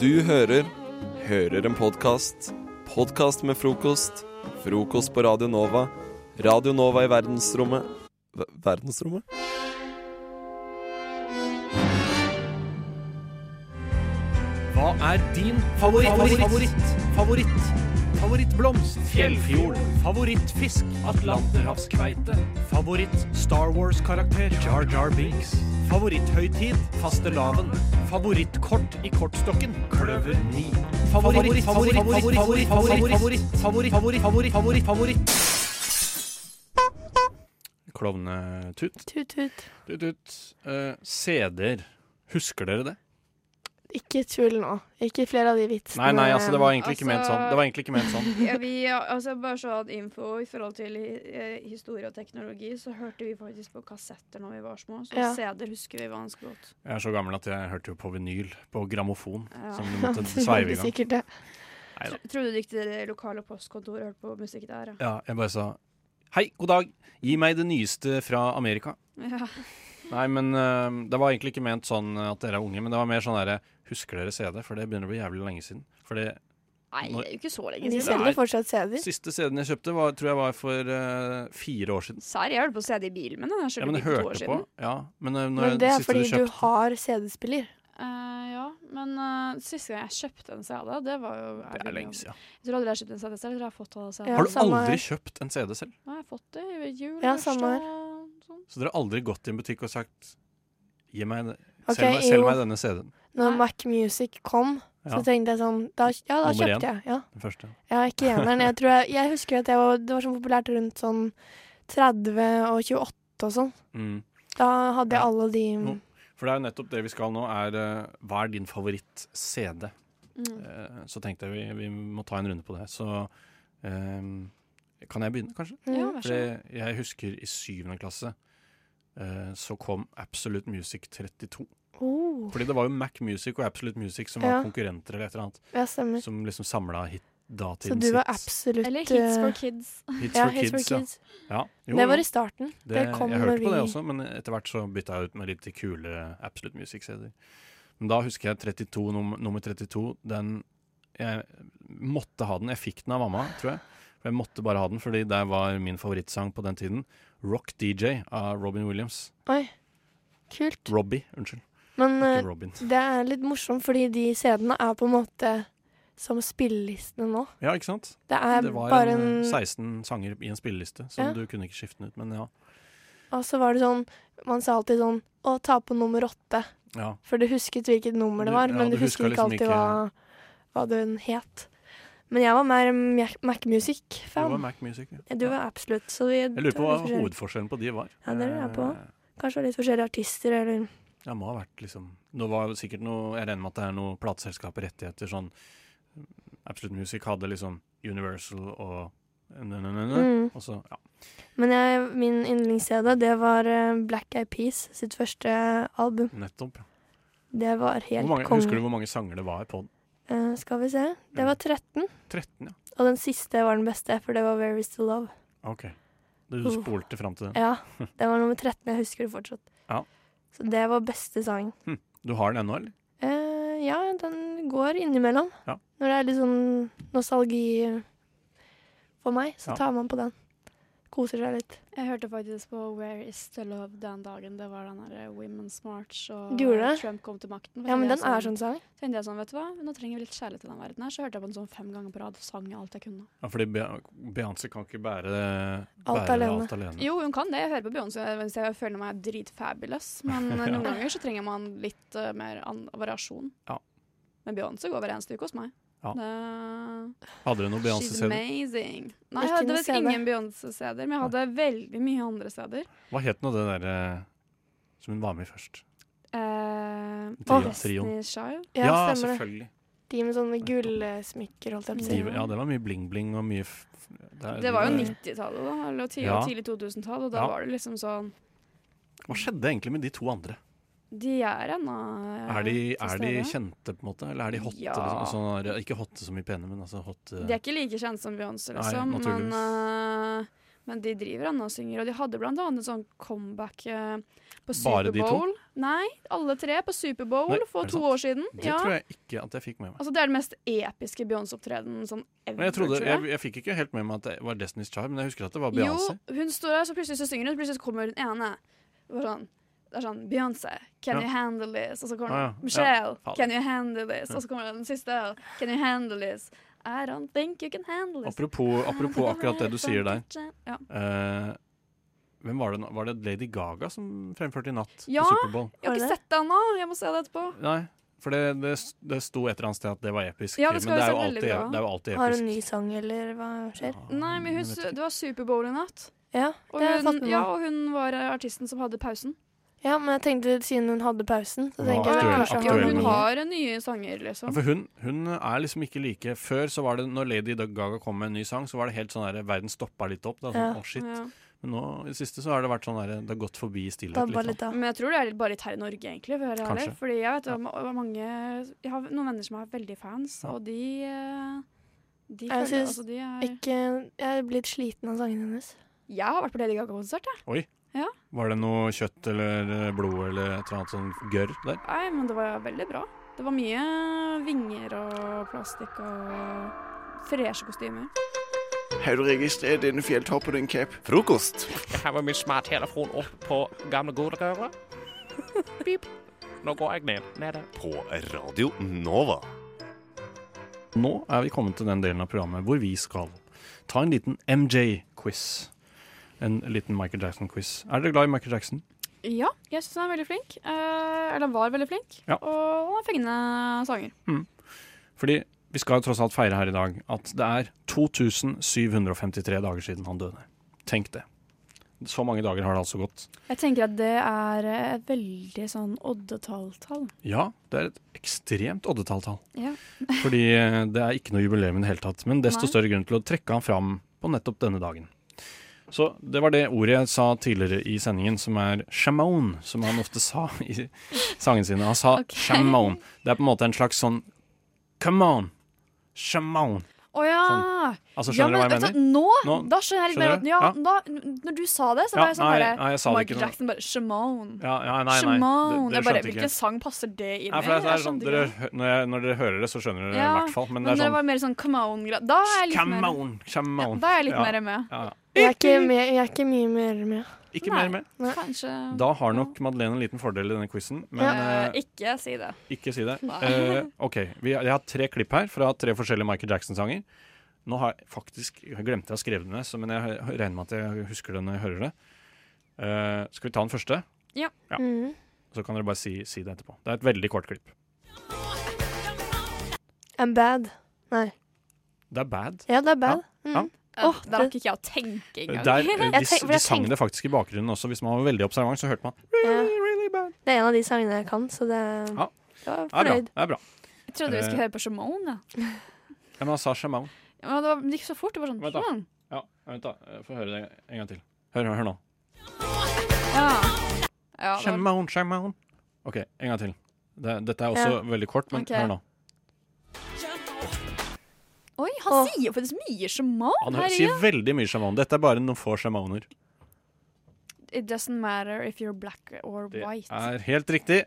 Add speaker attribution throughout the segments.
Speaker 1: Du hører Hører en podkast. Podkast med frokost. Frokost på Radio Nova. Radio Nova i verdensrommet Ver- Verdensrommet?
Speaker 2: Hva er din favoritt? Favoritt, favoritt, favoritt, favorittblomst? Fjellfjord. Favorittfisk? Atlanterhavskveite. Favoritt Star Wars-karakter? Jar Jar Binks. Favoritthøytid? Fastelavn. Favorittkort i kortstokken? Kløver 9. Favoritt, favoritt, favoritt, favoritt, favoritt, favoritt, favoritt, favoritt, favoritt, favoritt, favoritt.
Speaker 3: Klovnetut.
Speaker 4: Tut, tut.
Speaker 3: Tut, tut. Eh, CD-er. Husker dere det?
Speaker 4: Ikke tull nå. Ikke flere av de vitsene.
Speaker 3: Nei, nei, altså, det var egentlig ikke
Speaker 5: altså-
Speaker 3: ment sånn. Det var egentlig ikke ment sånn.
Speaker 5: Ja, vi, altså Bare sånn info i forhold til eh, historie og teknologi, så hørte vi faktisk på kassetter når vi var små. Så
Speaker 4: Ja.
Speaker 5: CD-er husker vi ganske godt.
Speaker 3: Jeg er så gammel at jeg hørte jo på vinyl på grammofon.
Speaker 5: Ja.
Speaker 3: Som du
Speaker 4: Ja,
Speaker 3: måtte
Speaker 4: det
Speaker 3: sveive i
Speaker 4: gjorde
Speaker 3: gang.
Speaker 4: sikkert det.
Speaker 3: Neida.
Speaker 5: Tro- Trodde du gikk til det lokale postkontoret og hørte på musikk der? Ja.
Speaker 3: Ja, jeg bare sa Hei, god dag. Gi meg det nyeste fra Amerika.
Speaker 5: Ja.
Speaker 3: Nei, men eh, det var egentlig ikke ment sånn at dere er unge, men det var mer sånn derre Husker dere CD? For det begynner å bli jævlig lenge siden. For det
Speaker 5: Nei, det er jo ikke så lenge
Speaker 4: De
Speaker 3: det
Speaker 5: siden.
Speaker 3: selv.
Speaker 4: selger
Speaker 3: er-
Speaker 4: fortsatt CD-er.
Speaker 3: siste CD-en jeg kjøpte, var, tror jeg var for eh, fire år siden.
Speaker 5: Serr, jeg hørte på CD i bilen min. Den er
Speaker 3: Ja, men jeg
Speaker 5: selvfølgelig ja, to år
Speaker 3: hørte på.
Speaker 5: siden.
Speaker 3: Ja, men, eh, når
Speaker 4: Men det er
Speaker 3: siste
Speaker 4: fordi
Speaker 3: du
Speaker 4: du
Speaker 3: kjøpte
Speaker 4: har CD-spiller.
Speaker 5: Eh, ja, men eh, siste gang jeg kjøpte en CD, det var jo
Speaker 3: Det er lenge siden.
Speaker 5: Jeg tror aldri jeg har kjøpt en CD selv. Jeg tror jeg har fått det av CD.
Speaker 4: Ja,
Speaker 3: Har du
Speaker 4: samme
Speaker 3: aldri
Speaker 4: her.
Speaker 3: kjøpt en CD selv?
Speaker 5: Nei, jeg har fått det i jul,
Speaker 4: Ja, samme her.
Speaker 5: bursdag, sånn.
Speaker 3: Så dere har aldri gått i en butikk og sagt Gi meg, det-
Speaker 4: Ok,
Speaker 3: selg, meg,
Speaker 4: jo.
Speaker 3: selg meg denne CD-en?
Speaker 4: Når
Speaker 5: Nei.
Speaker 4: Mac Music kom, så
Speaker 3: Ja.
Speaker 4: tenkte jeg sånn da, Ja,
Speaker 3: Nummer
Speaker 4: da
Speaker 3: én.
Speaker 4: kjøpte jeg. Ja,
Speaker 3: Den første.
Speaker 4: jeg er ikke eneren. Jeg, tror jeg, jeg husker at jeg var, det var så populært rundt sånn 30 og 28 og sånn.
Speaker 3: Mm.
Speaker 4: Da hadde jeg
Speaker 3: Ja. Mm.
Speaker 4: alle de
Speaker 3: Nå. For det er jo nettopp det vi skal nå, er eh, hva er din favoritt-CD?
Speaker 5: Mm.
Speaker 3: Eh, så tenkte jeg vi, vi må ta en runde på det. Så eh, kan jeg begynne, kanskje?
Speaker 4: mm.
Speaker 5: Ja, vær
Speaker 3: For
Speaker 5: så god.
Speaker 3: jeg, jeg husker i syvende klasse eh, så kom Absolute Music 32.
Speaker 4: Oh,
Speaker 3: Fordi det var jo Mac Music og Absolute Music som var
Speaker 4: Ja.
Speaker 3: konkurrenter eller et eller annet.
Speaker 4: ja, stemmer.
Speaker 3: Som liksom samla hit
Speaker 4: Så
Speaker 3: datidens
Speaker 4: du var
Speaker 3: hits.
Speaker 4: absolutt
Speaker 5: Eller Hits
Speaker 4: eh,
Speaker 5: for Kids.
Speaker 3: Hits
Speaker 4: ja,
Speaker 3: for
Speaker 4: Hits for
Speaker 3: kids, ja.
Speaker 4: Kids.
Speaker 3: ja. Jo,
Speaker 4: Det
Speaker 3: jo.
Speaker 4: var i starten. Det,
Speaker 3: Det-
Speaker 4: kom
Speaker 3: Jeg hørte
Speaker 4: når vi
Speaker 3: på det også, men etter hvert så bytta jeg ut med litt kulere Absolute Music-CD-er. Men da husker jeg 32, num nummer 32. Den Jeg måtte ha den. Jeg fikk den av mamma, tror jeg. For jeg måtte bare ha den, fordi det var min favorittsang på den tiden. Rock DJ av Robin Williams.
Speaker 4: Oi, kult.
Speaker 3: Robbie, unnskyld.
Speaker 4: Men eh,
Speaker 3: Ikke Robin.
Speaker 4: det er litt morsomt, fordi de CD-ene er på en måte som spillelistene nå.
Speaker 3: Ja, ikke sant?
Speaker 4: Det er
Speaker 3: Det var
Speaker 4: bare
Speaker 3: en, eh,
Speaker 4: en,
Speaker 3: 16 sanger i en spilleliste, som
Speaker 4: Ja.
Speaker 3: du kunne ikke skifte den ut, men ja.
Speaker 4: Og så var det sånn Man sa alltid sånn Å, ta på nummer åtte.
Speaker 3: ja.
Speaker 4: For du husket hvilket nummer det
Speaker 3: Du-
Speaker 4: var,
Speaker 3: ja,
Speaker 4: men du
Speaker 3: du huska
Speaker 4: husket ikke
Speaker 3: liksom
Speaker 4: alltid
Speaker 3: ikke-
Speaker 4: hva, hva den het. Men jeg var mer Mac- Mac
Speaker 3: Det var
Speaker 4: Music-fan.
Speaker 3: Mac Music. Ja.
Speaker 4: Ja, Du var absolutt, så vi
Speaker 3: Jeg lurer på
Speaker 4: tror
Speaker 3: hva
Speaker 4: litt forskjellig.
Speaker 3: hovedforskjellen på de var.
Speaker 4: Ja, det lurer jeg på.
Speaker 3: Eh,
Speaker 4: Kanskje det var litt forskjellige artister, eller
Speaker 3: Det må ha vært liksom Det var jo sikkert noe Jeg regner med at det er noe plateselskaper rettigheter sånn Absolute Music hadde liksom Universal og nø, nø, nø, nø.
Speaker 4: mm.
Speaker 3: Og så, ja.
Speaker 4: Men jeg, min yndlings-CD, det var eh, Black Eyed Peas sitt første album.
Speaker 3: Nettopp. ja.
Speaker 4: Det var
Speaker 3: Hvor
Speaker 4: helt
Speaker 3: mange,
Speaker 4: konge.
Speaker 3: husker du hvor mange sanger det var på den?
Speaker 4: Eh, skal vi se. Det
Speaker 3: Ja.
Speaker 4: var 13,
Speaker 3: 13, ja.
Speaker 4: og den siste var den beste, for det var Where Is The Love.
Speaker 3: OK. Du
Speaker 4: Uh.
Speaker 3: spolte fram til den.
Speaker 4: Ja, det var nummer 13. Jeg husker det fortsatt.
Speaker 3: Ja.
Speaker 4: Så det var beste sangen.
Speaker 3: Du har den ennå, eller?
Speaker 4: Eh, ja, den går innimellom.
Speaker 3: Ja.
Speaker 4: Når det er litt sånn nostalgi for meg, så
Speaker 3: Ja.
Speaker 4: tar man på den. Koser seg litt.
Speaker 5: Jeg hørte faktisk på Where Is The Love den dagen det var den der Women's March og eh,
Speaker 4: Gjorde det?
Speaker 5: Trump kom til makten.
Speaker 4: Ja, men den er sånn sang.
Speaker 5: tenkte jeg sånn, vet du hva, nå trenger vi litt kjærlighet i den verden her, så hørte jeg på den sånn fem ganger på rad og sang alt jeg kunne.
Speaker 3: Ja, fordi Be- Beyoncé kan ikke bære,
Speaker 4: Alt
Speaker 3: bære
Speaker 4: alene.
Speaker 3: alt alene.
Speaker 5: Jo, hun kan det. Jeg hører på Beyoncé hvis jeg føler meg dritfabulous, men eh, noen ganger så trenger man litt eh, mer an variasjon.
Speaker 3: Ja.
Speaker 5: Men Beyoncé går hver eneste uke hos meg.
Speaker 3: Ja.
Speaker 5: Det...
Speaker 3: Hadde du noen
Speaker 5: She's
Speaker 3: Beyoncé-CD?
Speaker 5: amazing. Nei, jeg
Speaker 4: Hvilken
Speaker 5: hadde visst
Speaker 4: CD?
Speaker 5: ingen Beyoncé-steder, men jeg hadde veldig mye andre steder.
Speaker 3: Hva het nå det derre som hun var med i først?
Speaker 5: Eh,
Speaker 3: Trio- trioen.
Speaker 5: Destiny Child.
Speaker 4: Ja, stemmer det.
Speaker 3: selvfølgelig.
Speaker 4: De med sånne gullsmykker, holdt jeg på å si.
Speaker 3: De, ja, det var mye bling-bling og mye f f- er-
Speaker 5: Det var jo
Speaker 3: de
Speaker 5: 90-tallet, da. Eller tidlig,
Speaker 3: Ja.
Speaker 5: tidlig 2000-tall. Og da
Speaker 3: Ja.
Speaker 5: var det liksom sånn
Speaker 3: Hva skjedde egentlig med de to andre?
Speaker 5: De er ennå eh,
Speaker 3: Er de,
Speaker 5: til
Speaker 3: er de
Speaker 5: stede.
Speaker 3: kjente, på en måte? Eller er de hotte?
Speaker 5: Ja.
Speaker 3: Liksom? Altså, er- ikke hotte som i pene, men altså hotte
Speaker 5: De er ikke like kjent som Beyoncé,
Speaker 3: Nei,
Speaker 5: liksom. men
Speaker 3: naturligvis.
Speaker 5: eh, Men de driver ennå og synger, og de hadde blant annet en sånn comeback eh, på
Speaker 3: Bare de to?
Speaker 5: Superbowl. Nei, alle tre på Superbowl
Speaker 3: Nei, er
Speaker 5: for
Speaker 3: det
Speaker 5: to
Speaker 3: sant?
Speaker 5: år siden.
Speaker 3: Det
Speaker 5: Ja.
Speaker 3: tror jeg ikke at jeg fikk med meg.
Speaker 5: Altså, det er den mest episke Beyoncé-opptredenen sånn ever,
Speaker 3: Men jeg, trodde,
Speaker 5: tror jeg.
Speaker 3: jeg, jeg fikk ikke helt med meg at det var Destiny's Child, men jeg husker at det var
Speaker 5: Jo,
Speaker 3: Beyoncé.
Speaker 5: hun står der, så plutselig så synger hun, og plutselig så kommer hun ene. Det var sånn, det er sånn Beyoncé, can
Speaker 3: Ja.
Speaker 5: you handle this? Og så kommer
Speaker 3: Ah,
Speaker 5: ah,
Speaker 3: ja.
Speaker 5: Michelle,
Speaker 3: Ja, faen.
Speaker 5: can you handle this?
Speaker 3: Ja.
Speaker 5: Og så kommer den siste, can you handle this? I don't think you can handle this.
Speaker 3: Apropos, apropos akkurat det du sier der.
Speaker 5: Ja.
Speaker 3: eh, hvem var det nå? Var det Lady Gaga som fremførte i natt
Speaker 5: Ja.
Speaker 3: på Superbowl?
Speaker 5: Jeg har
Speaker 4: Var det
Speaker 5: ikke
Speaker 4: det?
Speaker 5: sett det ennå, jeg må se det etterpå.
Speaker 3: Nei, for det, det, det sto et eller annet sted at det var episk.
Speaker 5: Ja, det skal
Speaker 3: men det er,
Speaker 5: jo
Speaker 3: jo
Speaker 5: se veldig
Speaker 3: alltid,
Speaker 5: bra.
Speaker 3: det er jo alltid
Speaker 4: Har hun
Speaker 3: episk.
Speaker 4: ny sang, eller hva skjer?
Speaker 3: Ja,
Speaker 5: Nei, men
Speaker 3: jeg
Speaker 5: hun,
Speaker 3: vet ikke.
Speaker 5: det var Superbowl i natt.
Speaker 4: Ja,
Speaker 5: Og
Speaker 4: det har jeg
Speaker 5: hun,
Speaker 4: fått med
Speaker 5: ja,
Speaker 4: meg.
Speaker 5: og hun var eh, artisten som hadde pausen.
Speaker 4: Ja, men jeg tenkte siden hun hadde pausen, så
Speaker 3: Hun
Speaker 4: tenker
Speaker 3: var
Speaker 4: jeg
Speaker 3: aktuell-
Speaker 4: kanskje
Speaker 5: ja,
Speaker 3: aktuell
Speaker 5: hun
Speaker 3: med
Speaker 4: nye.
Speaker 5: har nye sanger,
Speaker 3: Ja,
Speaker 5: liksom.
Speaker 3: for hun, hun er liksom ikke like Før så var det når Lady Gaga kom med en ny sang, så var det helt sånn der verden stoppa litt opp. Da, sånn,
Speaker 4: Ja.
Speaker 3: «Å, shit.
Speaker 5: Ja.
Speaker 3: Men nå i det siste så har det vært sånn der det har gått forbi stillhet.
Speaker 4: Dabba
Speaker 3: Liksom.
Speaker 4: litt av.
Speaker 5: Men jeg tror det er litt bare litt her i Norge, egentlig. For å være ærlig.
Speaker 3: Kanskje.
Speaker 5: Fordi jeg vet det var mange Jeg har noen venner som er veldig fans,
Speaker 3: Ja.
Speaker 5: og de eh, De
Speaker 4: Jeg
Speaker 5: føler
Speaker 4: synes
Speaker 5: altså de er
Speaker 4: Ikke, jeg er blitt sliten av sangene hennes.
Speaker 5: Jeg har vært på Lady Gaga-konsert, jeg.
Speaker 3: Var det noe kjøtt eller eh, blod eller et eller annet sånn gørr der?
Speaker 5: Nei, men det var veldig bra. Det var mye vinger og plastikk og freshe kostymer.
Speaker 6: Har du registrert denne fjelltoppen din, Cap?
Speaker 1: Frokost!
Speaker 7: Jeg har min smarttelefon opp på gamle godrøret. Pip. Nå går jeg ned. Nede.
Speaker 8: På Radio Nova.
Speaker 3: Nå er vi kommet til den delen av programmet hvor vi skal ta en liten MJ-quiz. En liten Michael Jackson-quiz. Er dere glad i Michael Jackson?
Speaker 5: Ja, jeg syns han er veldig flink. Eh, eller han var veldig flink.
Speaker 3: Ja.
Speaker 5: Og han har fengende sanger.
Speaker 3: Fordi vi skal jo tross alt feire her i dag at det er 2753 dager siden han døde. Tenk det. Så mange dager har det altså gått.
Speaker 5: Jeg tenker at det er et veldig sånn oddetalltall.
Speaker 3: Ja, det er et ekstremt oddetalltall.
Speaker 5: Ja.
Speaker 3: Fordi eh, det er ikke noe jubileum i det hele tatt. Men desto
Speaker 5: Nei.
Speaker 3: større grunn til å trekke han fram på nettopp denne dagen. Så det var det ordet jeg sa tidligere i sendingen, som er shamoun, som han ofte sa i sangene sine. Han sa
Speaker 5: Ok.
Speaker 3: shamoun. Det er på en måte en slags sånn come on, shamoun.
Speaker 4: Å ja!
Speaker 3: Altså, skjønner du hva jeg mener?
Speaker 4: Nå,
Speaker 3: Nå-
Speaker 4: da skjønner jeg litt mer
Speaker 3: skjønner
Speaker 4: at
Speaker 3: du?
Speaker 4: ja,
Speaker 3: Ja.
Speaker 4: da, Når du sa det,
Speaker 3: Ja,
Speaker 4: så var jeg sånn
Speaker 3: nei,
Speaker 4: bare
Speaker 3: nei, jeg sa det ikke
Speaker 5: Michael
Speaker 3: nå.
Speaker 5: Jackson bare Shimon.
Speaker 3: Ja, ja, nei, nei.
Speaker 5: Shimon.
Speaker 3: Det,
Speaker 5: Jeg
Speaker 3: det
Speaker 5: bare,
Speaker 3: skjønte
Speaker 5: Hvilken
Speaker 3: ikke.
Speaker 5: sang passer det inn
Speaker 3: Nei,
Speaker 5: i?
Speaker 3: for det er sånn,
Speaker 5: Jeg skjønte
Speaker 3: dere,
Speaker 5: ikke.
Speaker 3: hø- når, jeg, når dere hører det, så skjønner dere det i
Speaker 5: Ja,
Speaker 3: hvert fall. Men
Speaker 5: Men
Speaker 3: det
Speaker 5: det
Speaker 3: er sånn
Speaker 5: var mer sånn come on gra- Da er jeg litt
Speaker 3: come
Speaker 5: mer,
Speaker 3: on, come
Speaker 5: ja,
Speaker 3: on.
Speaker 5: da er jeg litt
Speaker 3: Ja.
Speaker 5: mer med.
Speaker 3: Ja, ja.
Speaker 4: jeg er, ikke med, jeg er ikke mye mer med.
Speaker 3: Ikke
Speaker 5: Nei.
Speaker 3: mer med.
Speaker 5: Kanskje
Speaker 3: Da har nok Madeleine en liten fordel i denne quizen, men
Speaker 5: Eh,
Speaker 3: eh,
Speaker 5: Ikke si det.
Speaker 3: Ikke si det.
Speaker 5: Nei.
Speaker 3: Eh, ok, vi har, Jeg har tre klipp her fra tre forskjellige Michael Jackson-sanger. Nå har jeg faktisk jeg glemte jeg å skrive den ned, så- men jeg hø- regner med at jeg husker det når jeg hører det. Eh, skal vi ta den første? Ja.
Speaker 4: Mm.
Speaker 3: Så kan dere bare si, si det etterpå. Det er et veldig kort klipp.
Speaker 4: I'm bad.
Speaker 3: Det er bad.
Speaker 4: Ja, det er bad. Mm.
Speaker 3: ja.
Speaker 5: Eh,
Speaker 4: Åh,
Speaker 5: Der
Speaker 4: det-
Speaker 5: rakk ikke jeg å tenke
Speaker 3: Der, eh,
Speaker 5: engang.
Speaker 3: de,
Speaker 4: tenk- for
Speaker 3: de
Speaker 4: jeg
Speaker 3: sang
Speaker 4: tenkte-
Speaker 3: det faktisk i bakgrunnen også. Hvis man var veldig observant, så hørte man
Speaker 4: Ja.
Speaker 3: really bad.
Speaker 4: Det er en av de sangene jeg kan, så det
Speaker 3: Ja.
Speaker 4: Jeg var
Speaker 3: Det er bra.
Speaker 4: fornøyd.
Speaker 3: Det er bra.
Speaker 5: Jeg trodde vi skulle
Speaker 3: Eh.
Speaker 5: høre på Shimon. Ja.
Speaker 3: Ja, men han sa Shaman.
Speaker 5: Ja, men det var- det gikk så fort. Det var sånn
Speaker 3: Vent da.
Speaker 5: Shimon.
Speaker 3: Ja, vent, da. Eh, Få høre det en gang til. Hør, hør, hør nå.
Speaker 5: Ja. Ja, det var-
Speaker 3: Shaman, Shaman. OK, en gang til. Det, dette er også
Speaker 4: Ja.
Speaker 3: veldig kort, men
Speaker 5: Ok.
Speaker 3: hør nå.
Speaker 5: Oi, han
Speaker 4: Åh.
Speaker 5: sier jo faktisk mye Shimon.
Speaker 3: Han hø-
Speaker 5: Herregud.
Speaker 3: sier veldig mye sjaman. Dette er bare noen få sjamaner.
Speaker 5: It doesn't matter if you're black or
Speaker 3: Det
Speaker 5: white.
Speaker 3: er helt riktig. Det,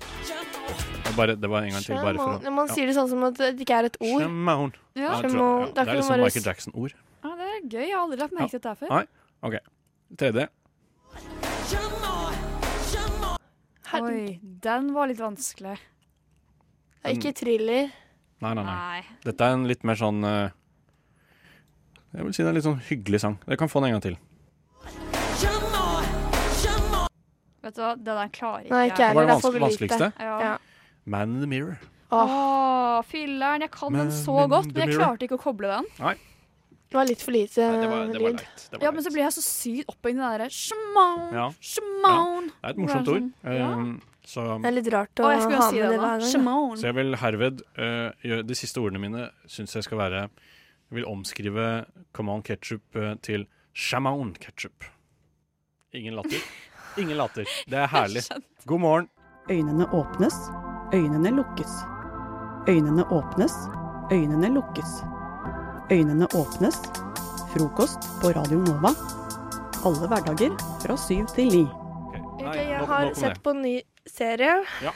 Speaker 3: er bare, det var en gang til, bare for
Speaker 4: Shaman. Man sier det sånn som at det ikke er et ord.
Speaker 3: Shaman.
Speaker 5: Ja.
Speaker 3: Ja, jeg tror-
Speaker 4: Shaman.
Speaker 3: ja,
Speaker 4: Da
Speaker 3: det
Speaker 4: kan
Speaker 3: er
Speaker 4: du
Speaker 3: liksom
Speaker 4: bare
Speaker 3: Michael
Speaker 4: s-
Speaker 3: Jackson-ord.
Speaker 5: ja, Ah, det er gøy. Jeg har aldri lagt merke til det før.
Speaker 3: Nei. Tredje.
Speaker 4: Her-
Speaker 5: Oi, den var litt vanskelig.
Speaker 4: Det er Ikke thriller.
Speaker 3: Nei, nei,
Speaker 5: Ah.
Speaker 3: nei. Dette er en litt mer sånn eh, Jeg vil si det er en litt sånn hyggelig sang. Dere kan få den en gang til.
Speaker 5: Vet du hva, det der klarer ikke altså.
Speaker 4: Nei, ikke
Speaker 3: Det
Speaker 4: jeg
Speaker 3: var den
Speaker 4: heller. Det er for
Speaker 3: vans
Speaker 4: lite.
Speaker 3: vanskeligste.
Speaker 5: Ja.
Speaker 4: Ja.
Speaker 3: Man in the Mirror.
Speaker 4: Åh,
Speaker 5: Åh, filleren. Jeg kan den
Speaker 3: Men-
Speaker 5: så
Speaker 3: men
Speaker 5: godt,
Speaker 3: The
Speaker 5: men jeg
Speaker 3: Mirror?
Speaker 5: klarte ikke å koble den.
Speaker 4: det var litt for lite
Speaker 7: Det var, det var
Speaker 4: lyd.
Speaker 7: leit. Det var
Speaker 5: Ja, Men så
Speaker 7: leit.
Speaker 5: ble jeg så sykt opphengt i det derre Shimon,
Speaker 3: Ja.
Speaker 5: Shimon.
Speaker 3: Det er et morsomt ord.
Speaker 5: Hvordan-
Speaker 3: Eh, så,
Speaker 4: Det er litt rart å
Speaker 5: Å, jeg skulle jo
Speaker 4: ha
Speaker 5: si
Speaker 4: med
Speaker 5: det
Speaker 4: det
Speaker 5: nå.
Speaker 4: hver gang. da.
Speaker 5: Shimon.
Speaker 3: så jeg vil herved eh, gjøre De siste ordene mine syns jeg skal være Jeg vil omskrive Come on ketchup eh, til Shaman ketchup. Ingen latter. Ingen latter. Det er herlig. God morgen.
Speaker 9: Øynene åpnes, øynene lukkes. Øynene åpnes, øynene lukkes. Øynene åpnes, Frokost på Radio Nova. Alle hverdager fra syv til ni.
Speaker 3: Ok. Nei,
Speaker 4: Ok, jeg
Speaker 3: nok-
Speaker 4: har
Speaker 3: nok om
Speaker 4: sett
Speaker 3: det.
Speaker 4: på en ny serie
Speaker 3: Ja.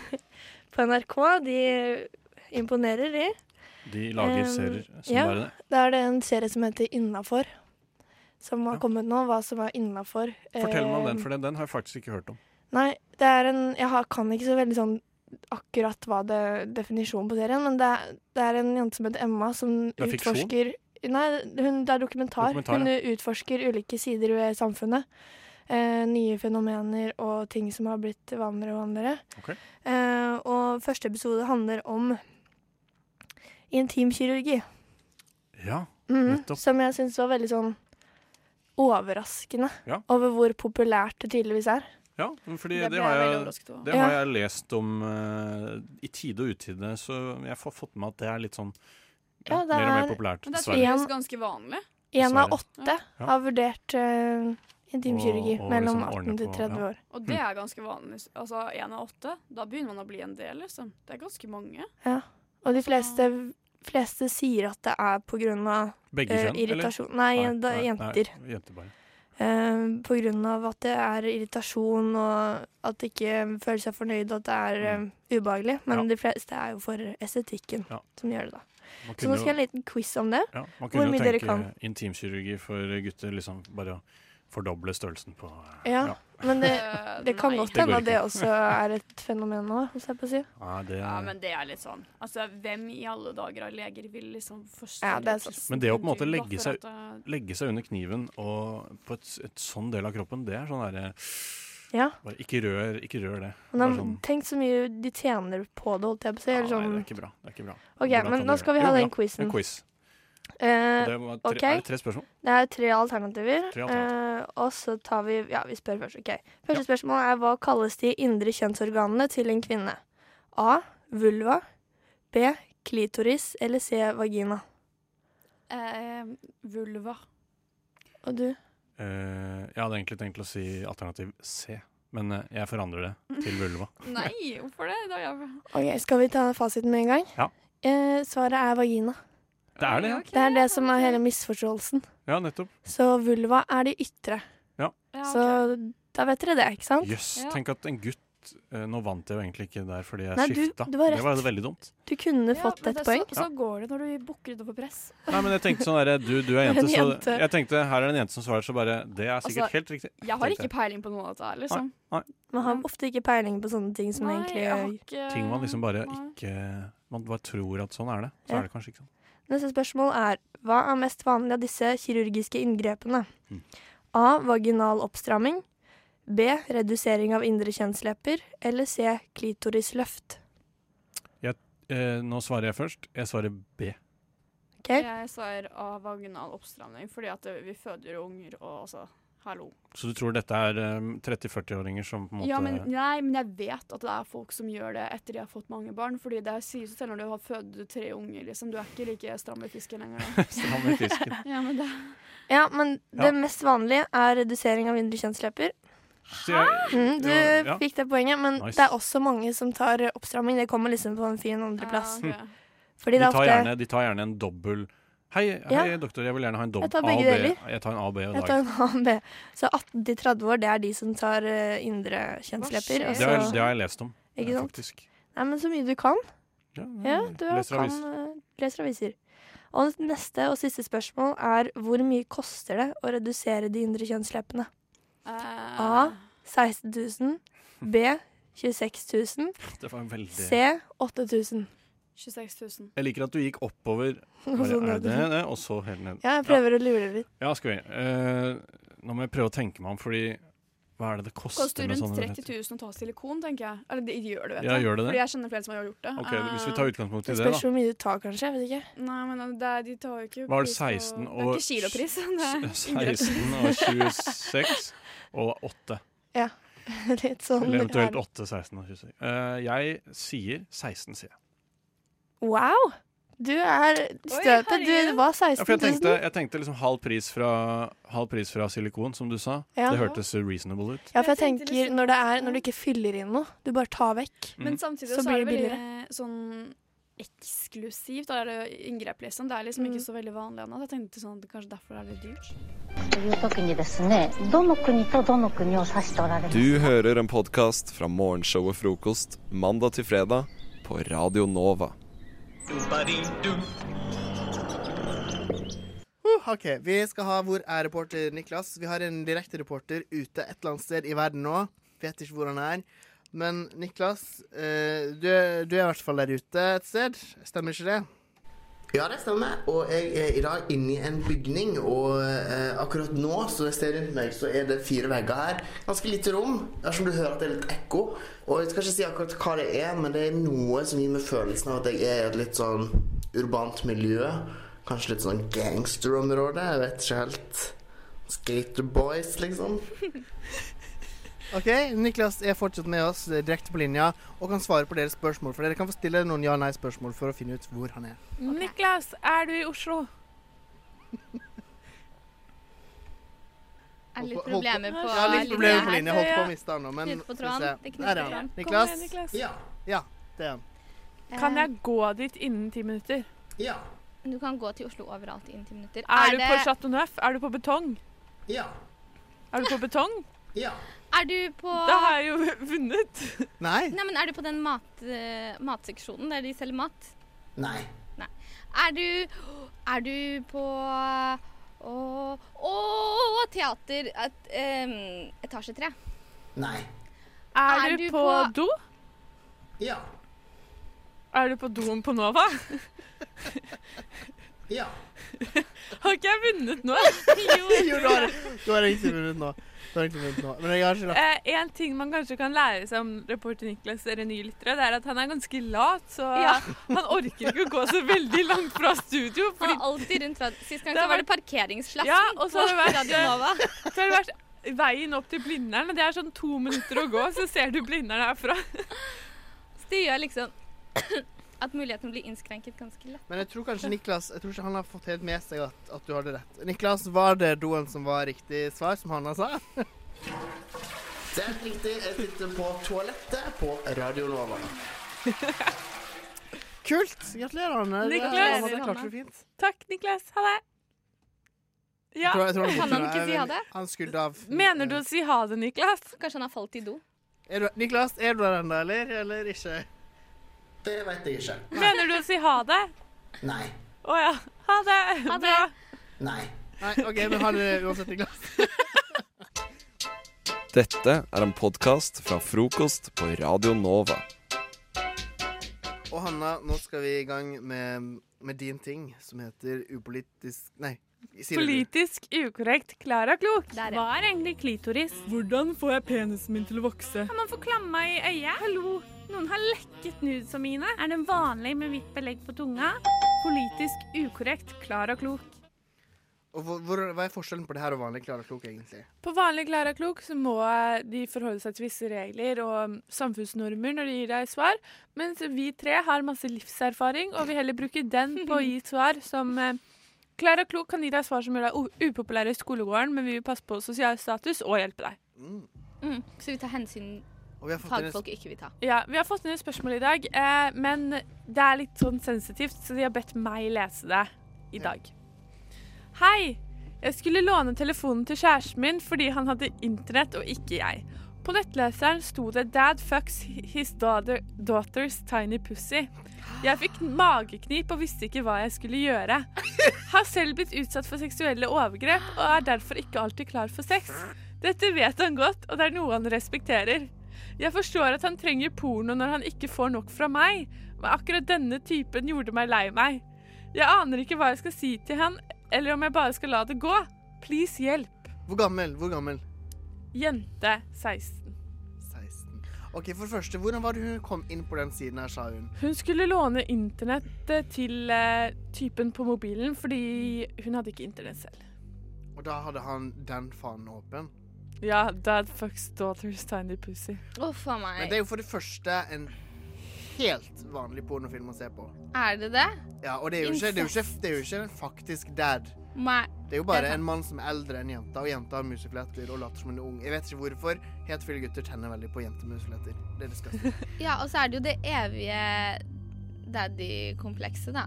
Speaker 4: på NRK. De imponerer, de.
Speaker 3: De lager
Speaker 4: Ehm,
Speaker 3: serier som
Speaker 4: ja.
Speaker 3: bare det.
Speaker 4: Da er det en serie som heter Innafor. Som har
Speaker 3: Ja.
Speaker 4: kommet nå. Hva som er innafor. eh,
Speaker 3: Fortell meg om den, for den, den har jeg faktisk ikke hørt om.
Speaker 4: Nei, det er en Jeg har, kan ikke så veldig sånn akkurat hva det definisjonen på serien, men det er, det er en jente som heter Emma, som
Speaker 3: Det er fiksjon?
Speaker 4: utforsker Nei, hun, det er dokumentar.
Speaker 3: Dokumentar,
Speaker 4: hun utforsker ulike sider ved samfunnet. Eh, nye fenomener og ting som har blitt vanligere og vanligere.
Speaker 3: Ok.
Speaker 4: Eh, og første episode handler om intimkirurgi.
Speaker 3: Ja,
Speaker 4: Mhm,
Speaker 3: Nettopp.
Speaker 4: Som jeg syns var veldig sånn overraskende
Speaker 3: Ja.
Speaker 4: over hvor populært det tydeligvis er.
Speaker 3: ja fordi
Speaker 5: Det
Speaker 3: det,
Speaker 5: ble jeg
Speaker 3: har
Speaker 5: veldig
Speaker 3: jeg
Speaker 5: overrasket over.
Speaker 3: det
Speaker 4: Ja.
Speaker 3: har jeg lest om eh, i tide og utide, så jeg har fått med at det er litt sånn ja,
Speaker 4: Ja, det
Speaker 3: mer og mer
Speaker 4: er-
Speaker 3: populært,
Speaker 5: Men det er
Speaker 3: dessverre.
Speaker 5: tydeligvis ganske vanlig.
Speaker 4: Én av
Speaker 3: Dessverre.
Speaker 4: åtte
Speaker 3: Ja.
Speaker 4: har vurdert eh, intimkirurgi
Speaker 3: Og- og
Speaker 4: mellom
Speaker 3: liksom ordne
Speaker 4: 18 til
Speaker 3: på-
Speaker 4: 30
Speaker 3: ja.
Speaker 4: år.
Speaker 5: Og det
Speaker 3: Mm.
Speaker 5: er ganske vanlig. Altså én av åtte. Da begynner man å bli en del, liksom. Det er ganske mange.
Speaker 4: Og de fleste, fleste sier at det er pga.
Speaker 10: eh,
Speaker 3: Begge
Speaker 4: Uh,
Speaker 3: kjønn, eller?
Speaker 4: irritasjon Nei, da,
Speaker 3: nei,
Speaker 4: jenter.
Speaker 3: Nei, jenter bare.
Speaker 4: Eh, på grunn av at det er irritasjon og at de ikke føler seg fornøyd, og at det er eh, ubehagelig. Men
Speaker 3: Mm. Ja.
Speaker 4: de fleste er jo for estetikken
Speaker 3: Ja.
Speaker 4: som gjør det, da.
Speaker 3: Man
Speaker 4: Så nå
Speaker 3: kunne
Speaker 4: skal jeg
Speaker 3: jo,
Speaker 4: ha en liten quiz om det.
Speaker 3: ja, man kunne
Speaker 4: mye
Speaker 3: jo
Speaker 4: dere
Speaker 3: tenke
Speaker 4: kan.
Speaker 3: intimkirurgi for gutter, liksom bare å fordoble størrelsen på
Speaker 4: Ja. Men det,
Speaker 5: Eh,
Speaker 4: det kan
Speaker 5: nei.
Speaker 4: godt
Speaker 3: Det går
Speaker 4: hende at det
Speaker 3: ikke.
Speaker 4: også er et fenomen nå, holdt jeg på å si.
Speaker 3: Ja, det,
Speaker 5: Ja, men det er litt sånn. Altså, hvem i alle dager av leger vil liksom forstyrre
Speaker 4: Ja, det er sant.
Speaker 5: tissen
Speaker 3: Men det å på en måte
Speaker 5: til da,
Speaker 3: legge
Speaker 5: for
Speaker 3: seg-
Speaker 5: at, eh,
Speaker 3: legge seg under kniven og på et, et sånn del av kroppen, det er sånn derre
Speaker 4: Ja.
Speaker 3: Bare ikke rør, ikke rør det.
Speaker 4: Men de,
Speaker 3: Bare sånn-
Speaker 4: Tenk så mye de tjener på det, holdt jeg på å si. Eller
Speaker 3: Ja, nei,
Speaker 4: sånn.
Speaker 3: det er ikke bra. Det er ikke bra.
Speaker 4: OK,
Speaker 3: Hvordan
Speaker 4: men
Speaker 3: kan
Speaker 4: nå
Speaker 3: du
Speaker 4: skal vi
Speaker 3: gjøre
Speaker 4: ha
Speaker 3: det? Jo,
Speaker 4: den
Speaker 3: bra. En
Speaker 4: quizen.
Speaker 3: quiz.
Speaker 4: Eh,
Speaker 3: Det var tre,
Speaker 4: ok.
Speaker 3: Er det tre spørsmål?
Speaker 4: Det er tre alternativer.
Speaker 3: Tre alternativer.
Speaker 4: Eh, og så tar vi Ja, vi spør først. ok. Første spørsmål er hva kalles de indre kjønnsorganene til en kvinne? A. Vulva. B. Klitoris. Eller C. Vagina.
Speaker 5: eh, vulva.
Speaker 4: Og du?
Speaker 3: Eh, jeg hadde egentlig tenkt å si alternativ C, men eh, jeg forandrer det til vulva.
Speaker 5: Nei, hvorfor det? Da jeg...
Speaker 4: Ok, Skal vi ta fasiten med en gang?
Speaker 3: Ja.
Speaker 4: Eh, svaret er vagina.
Speaker 3: Det er det, ja.
Speaker 5: Ok,
Speaker 4: Det er det som er
Speaker 5: ok.
Speaker 4: hele misforståelsen.
Speaker 3: Ja, nettopp.
Speaker 4: Så vulva er de ytre.
Speaker 5: Ja, ok.
Speaker 4: Så da vet dere det, ikke sant?
Speaker 3: Jøss.
Speaker 5: Ja.
Speaker 3: Tenk at en gutt eh, Nå vant jeg jo egentlig ikke der fordi jeg
Speaker 4: Nei, du-
Speaker 3: skifta.
Speaker 4: du var
Speaker 3: Det var
Speaker 4: rett.
Speaker 3: veldig dumt.
Speaker 4: Du kunne
Speaker 5: Ja,
Speaker 4: fått
Speaker 5: men
Speaker 4: et
Speaker 5: det-
Speaker 4: poeng.
Speaker 5: Så, så går det når du bukker utover press.
Speaker 3: Nei, men jeg tenkte sånn derre du, du er jente,
Speaker 4: En
Speaker 3: så
Speaker 4: jente.
Speaker 3: Jeg tenkte her er det en jente som svarer, så bare Det er sikkert
Speaker 5: Altså,
Speaker 3: helt riktig.
Speaker 5: Jeg har
Speaker 3: tenkte
Speaker 5: ikke peiling på noe av dette her, liksom.
Speaker 4: Man har ofte ikke peiling på sånne ting som
Speaker 5: Nei, jeg har
Speaker 4: egentlig
Speaker 5: ikke-
Speaker 3: Ting man liksom bare
Speaker 5: eh, Nei.
Speaker 3: ikke Man bare tror at sånn er det. Så
Speaker 4: Ja.
Speaker 3: er det kanskje ikke sånn.
Speaker 4: Neste spørsmål er Hva er mest vanlig av disse kirurgiske inngrepene?
Speaker 3: Mm.
Speaker 4: A. Vaginal oppstramming. B. Redusering av indre kjønnslepper. Eller C. Klitorisløft.
Speaker 3: Eh, nå svarer jeg først. Jeg svarer B.
Speaker 4: Ok?
Speaker 5: Jeg svarer av vaginal oppstramning, fordi at det- vi føder jo unger, og altså Hallo.
Speaker 3: Så du tror dette er eh, 30-40-åringer som på en måte
Speaker 5: Ja, men, nei, men jeg vet at det er folk som gjør det etter de har fått mange barn. Fordi det sies jo selv når du har født tre unger, liksom. Du er ikke like stram i fisken lenger. da.
Speaker 3: strammer fisken?
Speaker 5: Ja, men det,
Speaker 4: Ja, men
Speaker 3: Ja.
Speaker 4: det mest vanlige er redusering av indre kjønnslepper.
Speaker 3: Så jeg,
Speaker 4: Mm, du
Speaker 3: Ja, ja.
Speaker 4: fikk det poenget, men
Speaker 3: Nice.
Speaker 4: det er også mange som tar eh, oppstramming. Det kommer liksom på en fin andreplass.
Speaker 5: Ja, ok.
Speaker 3: de,
Speaker 4: Fordi det
Speaker 3: tar
Speaker 4: er ofte
Speaker 3: gjerne, de tar gjerne en dobbel Hei, hei doktor, jeg vil gjerne ha en dobbel
Speaker 4: Jeg tar begge
Speaker 3: A og B.
Speaker 4: deler.
Speaker 3: Jeg tar en A og B i
Speaker 4: jeg
Speaker 3: dag.
Speaker 4: tar en annen B. Så 18 til 30 år, det er de som tar eh, indre kjønnslepper.
Speaker 5: skjer?
Speaker 4: og
Speaker 3: Det har,
Speaker 4: så-
Speaker 3: det har jeg lest om, eh,
Speaker 4: Ikke sant?
Speaker 3: faktisk.
Speaker 4: Nei, men så mye du kan.
Speaker 3: Ja,
Speaker 4: Ja, du
Speaker 3: leser Mm.
Speaker 4: kan
Speaker 3: avis.
Speaker 4: eh, leser aviser. Og neste og siste spørsmål er hvor mye koster det å redusere de indre kjønnsleppene?
Speaker 5: Eh,
Speaker 4: A. 16 000. B. 26 000.
Speaker 3: Det var veldig
Speaker 4: C. 8000.
Speaker 5: 26 000.
Speaker 3: Jeg liker at du gikk oppover,
Speaker 4: Noe
Speaker 3: bare,
Speaker 4: sånt
Speaker 3: er det,
Speaker 4: noe.
Speaker 3: det, og så helt ned.
Speaker 4: Ja, jeg prøver å lure litt.
Speaker 3: Ja, skal vi. Eh, nå må jeg prøve å tenke meg om, fordi hva er det det koster,
Speaker 5: Koster
Speaker 3: med
Speaker 5: rundt
Speaker 3: sånne
Speaker 5: 30 000 å ta silikon, tenker jeg. Eller de de gjør det, vet
Speaker 3: sånn, Ja,
Speaker 5: jeg.
Speaker 3: gjør det
Speaker 5: Fordi
Speaker 3: det?
Speaker 5: jeg kjenner flere som har gjort det.
Speaker 3: Ok,
Speaker 4: Ah,
Speaker 3: Hvis vi tar utgangspunkt i
Speaker 4: Det
Speaker 3: det,
Speaker 4: spørs
Speaker 3: da.
Speaker 4: hvor mye du tar, kanskje. Jeg vet ikke.
Speaker 5: Eh, Nei, men det, er- de tar jo ikke
Speaker 3: Var det
Speaker 5: pris
Speaker 3: 16
Speaker 5: på, Det
Speaker 3: og
Speaker 5: er ikke kilopris. Det er inngrep.
Speaker 3: 16 og 26 og 8.
Speaker 4: Litt sånn
Speaker 3: Eller eventuelt 8, 16 og 26. Eh, jeg sier 16, sier jeg.
Speaker 4: Wow! Du er støtet. Du
Speaker 5: herregud.
Speaker 4: var
Speaker 3: Ja,
Speaker 4: 16
Speaker 3: for jeg
Speaker 4: 000.
Speaker 3: tenkte, jeg tenkte liksom halv pris, fra, halv pris fra silikon, som du sa.
Speaker 4: Ja.
Speaker 3: Det hørtes reasonable ut.
Speaker 4: Ja, for jeg
Speaker 5: Jeg tenkte
Speaker 4: tenker
Speaker 5: liksom-
Speaker 4: når, det er, når du ikke fyller inn noe, du bare tar vekk.
Speaker 3: Mm.
Speaker 5: Men samtidig
Speaker 4: Så
Speaker 5: så, er
Speaker 4: blir
Speaker 5: det
Speaker 4: det
Speaker 5: veldig sånn eksklusivt da er det inngrep, liksom. Det er liksom
Speaker 4: Mm.
Speaker 5: ikke så veldig vanlig ennå. Jeg tenkte sånn at kanskje derfor er det dyrt.
Speaker 11: という時にですねどの国とどの国を指しておられます
Speaker 1: Du hører en podkast fra morgenshowet Frokost mandag til fredag på Radio Nova.
Speaker 12: Uh, OK, vi skal ha Hvor er reporter Niklas? Vi har en direkte reporter ute et eller annet sted i verden nå. Vet ikke hvor han er. Men Niklas, eh, du, du er i hvert fall der ute et sted. Stemmer ikke det?
Speaker 13: Ja, det stemmer. Og jeg er i dag inne i en bygning, og eh, akkurat nå så jeg ser rundt meg, så er det fire vegger her. Ganske lite rom, dersom du hører at det er litt ekko. Og jeg skal ikke si akkurat hva det er, men det er noe som gir meg følelsen av at jeg er i et litt sånn urbant miljø. Kanskje litt sånn gangsterområde, jeg vet ikke helt. Skaterboys, liksom.
Speaker 12: OK, Niklas er fortsatt med oss eh, direkte på linja og kan svare på deres spørsmål. For dere kan få stille noen ja-nei-spørsmål for å finne ut hvor han er.
Speaker 14: Mm.
Speaker 10: Niklas, er du i Oslo?
Speaker 14: Er
Speaker 12: Hold
Speaker 14: litt
Speaker 12: på-
Speaker 14: problemer på,
Speaker 12: ja, litt problemer på
Speaker 14: her.
Speaker 12: linja. Holdt på å miste han nå, men
Speaker 14: Knytt på
Speaker 12: skal vi se.
Speaker 14: tråden. Det
Speaker 12: Der
Speaker 14: knyter
Speaker 12: er
Speaker 14: på
Speaker 12: han.
Speaker 14: tråden.
Speaker 12: Niklas?
Speaker 10: Kom igjen, Niklas.
Speaker 12: Ja. ja, det er han.
Speaker 10: Kan jeg gå dit innen ti minutter?
Speaker 13: Ja.
Speaker 14: Du kan gå til Oslo overalt innen ti minutter.
Speaker 10: Er du
Speaker 14: det-
Speaker 10: på Chateau Neuf? Er du på betong?
Speaker 13: Ja.
Speaker 10: Er du på betong?
Speaker 13: Ja.
Speaker 14: Er du på
Speaker 10: Da har jeg jo vunnet.
Speaker 12: Nei.
Speaker 14: Nei, men er du på den mat, eh, matseksjonen der de selger mat?
Speaker 13: Nei.
Speaker 14: Nei. Er du Er du på Å, å teater et, em, Etasje tre.
Speaker 13: Nei.
Speaker 10: Er,
Speaker 14: Er
Speaker 10: du,
Speaker 14: du
Speaker 10: på,
Speaker 14: på-
Speaker 10: do?
Speaker 13: Ja.
Speaker 10: Er du på doen på Nova?
Speaker 13: ja.
Speaker 10: Har ikke jeg vunnet nå?
Speaker 12: Jo, du har, du har egentlig vunnet nå. Du har egentlig vunnet nå. Men jeg har ikke lagt
Speaker 10: Eh, en ting man kanskje kan lære seg om reporter Niklas eller nye lyttere, det er at han er ganske lat, så eh,
Speaker 14: Ja.
Speaker 10: han orker ikke å gå så veldig langt fra studio.
Speaker 14: Han
Speaker 10: Fordi
Speaker 14: er alltid rundt fra Sist gang
Speaker 10: Det
Speaker 14: så
Speaker 10: har
Speaker 14: var det
Speaker 10: vært-
Speaker 14: parkeringsplassen
Speaker 10: ja, og så har det
Speaker 14: på
Speaker 10: vært, eh,
Speaker 14: Radio Nova.
Speaker 10: så har det vært veien opp til Blindern, og det er sånn to minutter å gå, så ser du Blindern herfra.
Speaker 14: Så det gjør liksom at muligheten blir innskrenket ganske lett.
Speaker 12: Men jeg tror kanskje Niklas Jeg tror ikke han har fått helt med seg at, at du hadde rett. Niklas, var det doen som var riktig svar, som Hanna sa?
Speaker 13: Det er helt riktig. Jeg sitter på toalettet på Radio Nova.
Speaker 12: Kult! Gratulerer, Hanne. Det-
Speaker 10: Niklas.
Speaker 12: Hanne, Det klarte du fint.
Speaker 10: Takk, Niklas. Ha det. Ja.
Speaker 12: Jeg tror- jeg tror
Speaker 14: Kan han ikke
Speaker 12: er
Speaker 14: si ha
Speaker 12: veldig-
Speaker 14: det?
Speaker 12: Han skulder av.
Speaker 10: Mener du å si ha det, Niklas?
Speaker 14: Kanskje han har falt i do.
Speaker 12: Er du, Niklas, er du der ennå, eller? Eller ikke?
Speaker 13: Det vet jeg ikke.
Speaker 10: Mener du å si ha det?
Speaker 13: Nei.
Speaker 10: Å ja. Ha det. Bra.
Speaker 13: Nei.
Speaker 12: Nei, OK, men ha det uansett, Niklas.
Speaker 1: Dette er en podkast fra frokost på Radio Nova.
Speaker 12: Og Hanna, nå skal vi i gang med, med din ting, som heter upolitisk Nei. sier det du.
Speaker 10: Politisk ukorrekt. Klara Klok. Hva er egentlig klitoris? Hvordan får jeg penisen min til å vokse? Kan man få klamma i øyet? Hallo, noen har lekket nudes av mine. Er den vanlig med hvitt belegg på tunga? Politisk ukorrekt. Klara Klok.
Speaker 12: Og hvor, hvor, hva er forskjellen på det her og vanlig Klara Klok, egentlig?
Speaker 10: På vanlig Klara Klok så må de forholde seg til visse regler og mm, samfunnsnormer når de gir deg svar, mens vi tre har masse livserfaring og vil heller bruke den på å gi svar som eh, Klara Klok kan gi deg svar som gjør deg u- upopulær i skolegården, men vi vil passe på sosial status og hjelpe deg.
Speaker 14: Mm. Så vi tar hensyn
Speaker 12: Og vi har fått inn et-
Speaker 14: fagfolk ikke vil ta.
Speaker 10: Ja, Vi har fått inn et spørsmål i dag, eh, men det er litt sånn sensitivt, så de har bedt meg lese det i dag. Hei! Jeg skulle låne telefonen til kjæresten min fordi han hadde internett og ikke jeg. På nettleseren sto det 'Dad fucks his daughter, daughter's tiny pussy'. Jeg fikk mageknip og visste ikke hva jeg skulle gjøre. Har selv blitt utsatt for seksuelle overgrep og er derfor ikke alltid klar for sex. Dette vet han godt, og det er noe han respekterer. Jeg forstår at han trenger porno når han ikke får nok fra meg, men akkurat denne typen gjorde meg lei meg. Jeg aner ikke hva jeg skal si til han, eller om jeg bare skal la det gå. Please hjelp.
Speaker 12: Hvor gammel? Hvor gammel?
Speaker 10: Jente 16.
Speaker 12: 16. OK, for det første, hvordan var det hun kom inn på den siden her, sa hun?
Speaker 10: Hun skulle låne internettet til eh, typen på mobilen fordi hun hadde ikke internett selv.
Speaker 12: Og da hadde han den fanen åpen.
Speaker 10: Ja, dad fucks daughter's tiny pussy.
Speaker 14: Uff a meg.
Speaker 12: Men det er jo for det første en helt vanlig pornofilm å se på.
Speaker 14: Er det det?
Speaker 12: Ja, og det er jo ikke, det er jo ikke, det er jo ikke en faktisk dad.
Speaker 14: Nei.
Speaker 12: Det er jo bare
Speaker 14: Jeg-
Speaker 12: en mann som er eldre enn jenta, og jenta har musefletter og later som hun er ung. Jeg vet ikke hvorfor. Helt fulle gutter tenner veldig på jentemusefletter. Det er disgusting.
Speaker 14: Ja, og så er det jo det evige daddy-komplekset, da.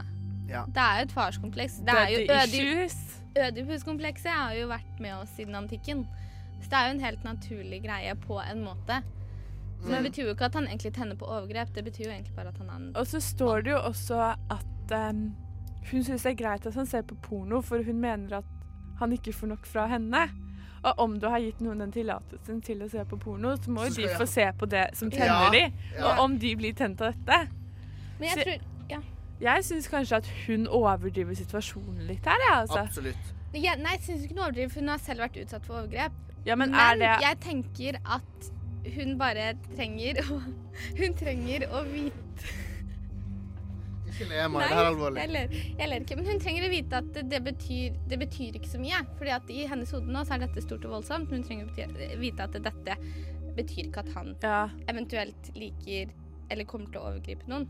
Speaker 12: Ja.
Speaker 14: Det er jo et farskompleks. Det er jo
Speaker 10: Daddy
Speaker 14: ødi- Ødipus-komplekset har jo vært med oss siden antikken. Så det er jo en helt naturlig greie på en måte. Men det
Speaker 10: Mm.
Speaker 14: betyr jo ikke at han egentlig tenner på overgrep. Det betyr jo egentlig bare at han er en
Speaker 10: Og så står det jo også at em, hun syns det er greit at han ser på porno, for hun mener at han ikke får nok fra henne. Og om du har gitt noen den tillatelsen til å se på porno, så må
Speaker 14: Så
Speaker 10: jo
Speaker 14: skal
Speaker 10: de
Speaker 14: jeg-
Speaker 10: få se på det som
Speaker 14: Ja,
Speaker 10: tenner de.
Speaker 14: ja.
Speaker 10: Og om de blir tent av dette.
Speaker 14: Men jeg
Speaker 10: Så-
Speaker 14: tror Ja.
Speaker 10: Jeg syns kanskje at hun overdriver situasjonen litt her, jeg, altså.
Speaker 12: Absolutt.
Speaker 14: Ja, nei, jeg syns ikke hun overdriver, for hun har selv vært utsatt for overgrep.
Speaker 10: Ja, men er det-
Speaker 14: jeg tenker at hun bare trenger å Hun trenger å vite
Speaker 12: Ikke le, Mari. Det er alvorlig.
Speaker 14: jeg ler, jeg ler ikke. Men hun trenger å vite at det, det, betyr, det betyr ikke så mye. Fordi at i hennes hode nå så er dette stort og voldsomt. Men hun trenger å bety- vite at dette betyr ikke at han eventuelt liker eller kommer til å overgripe noen.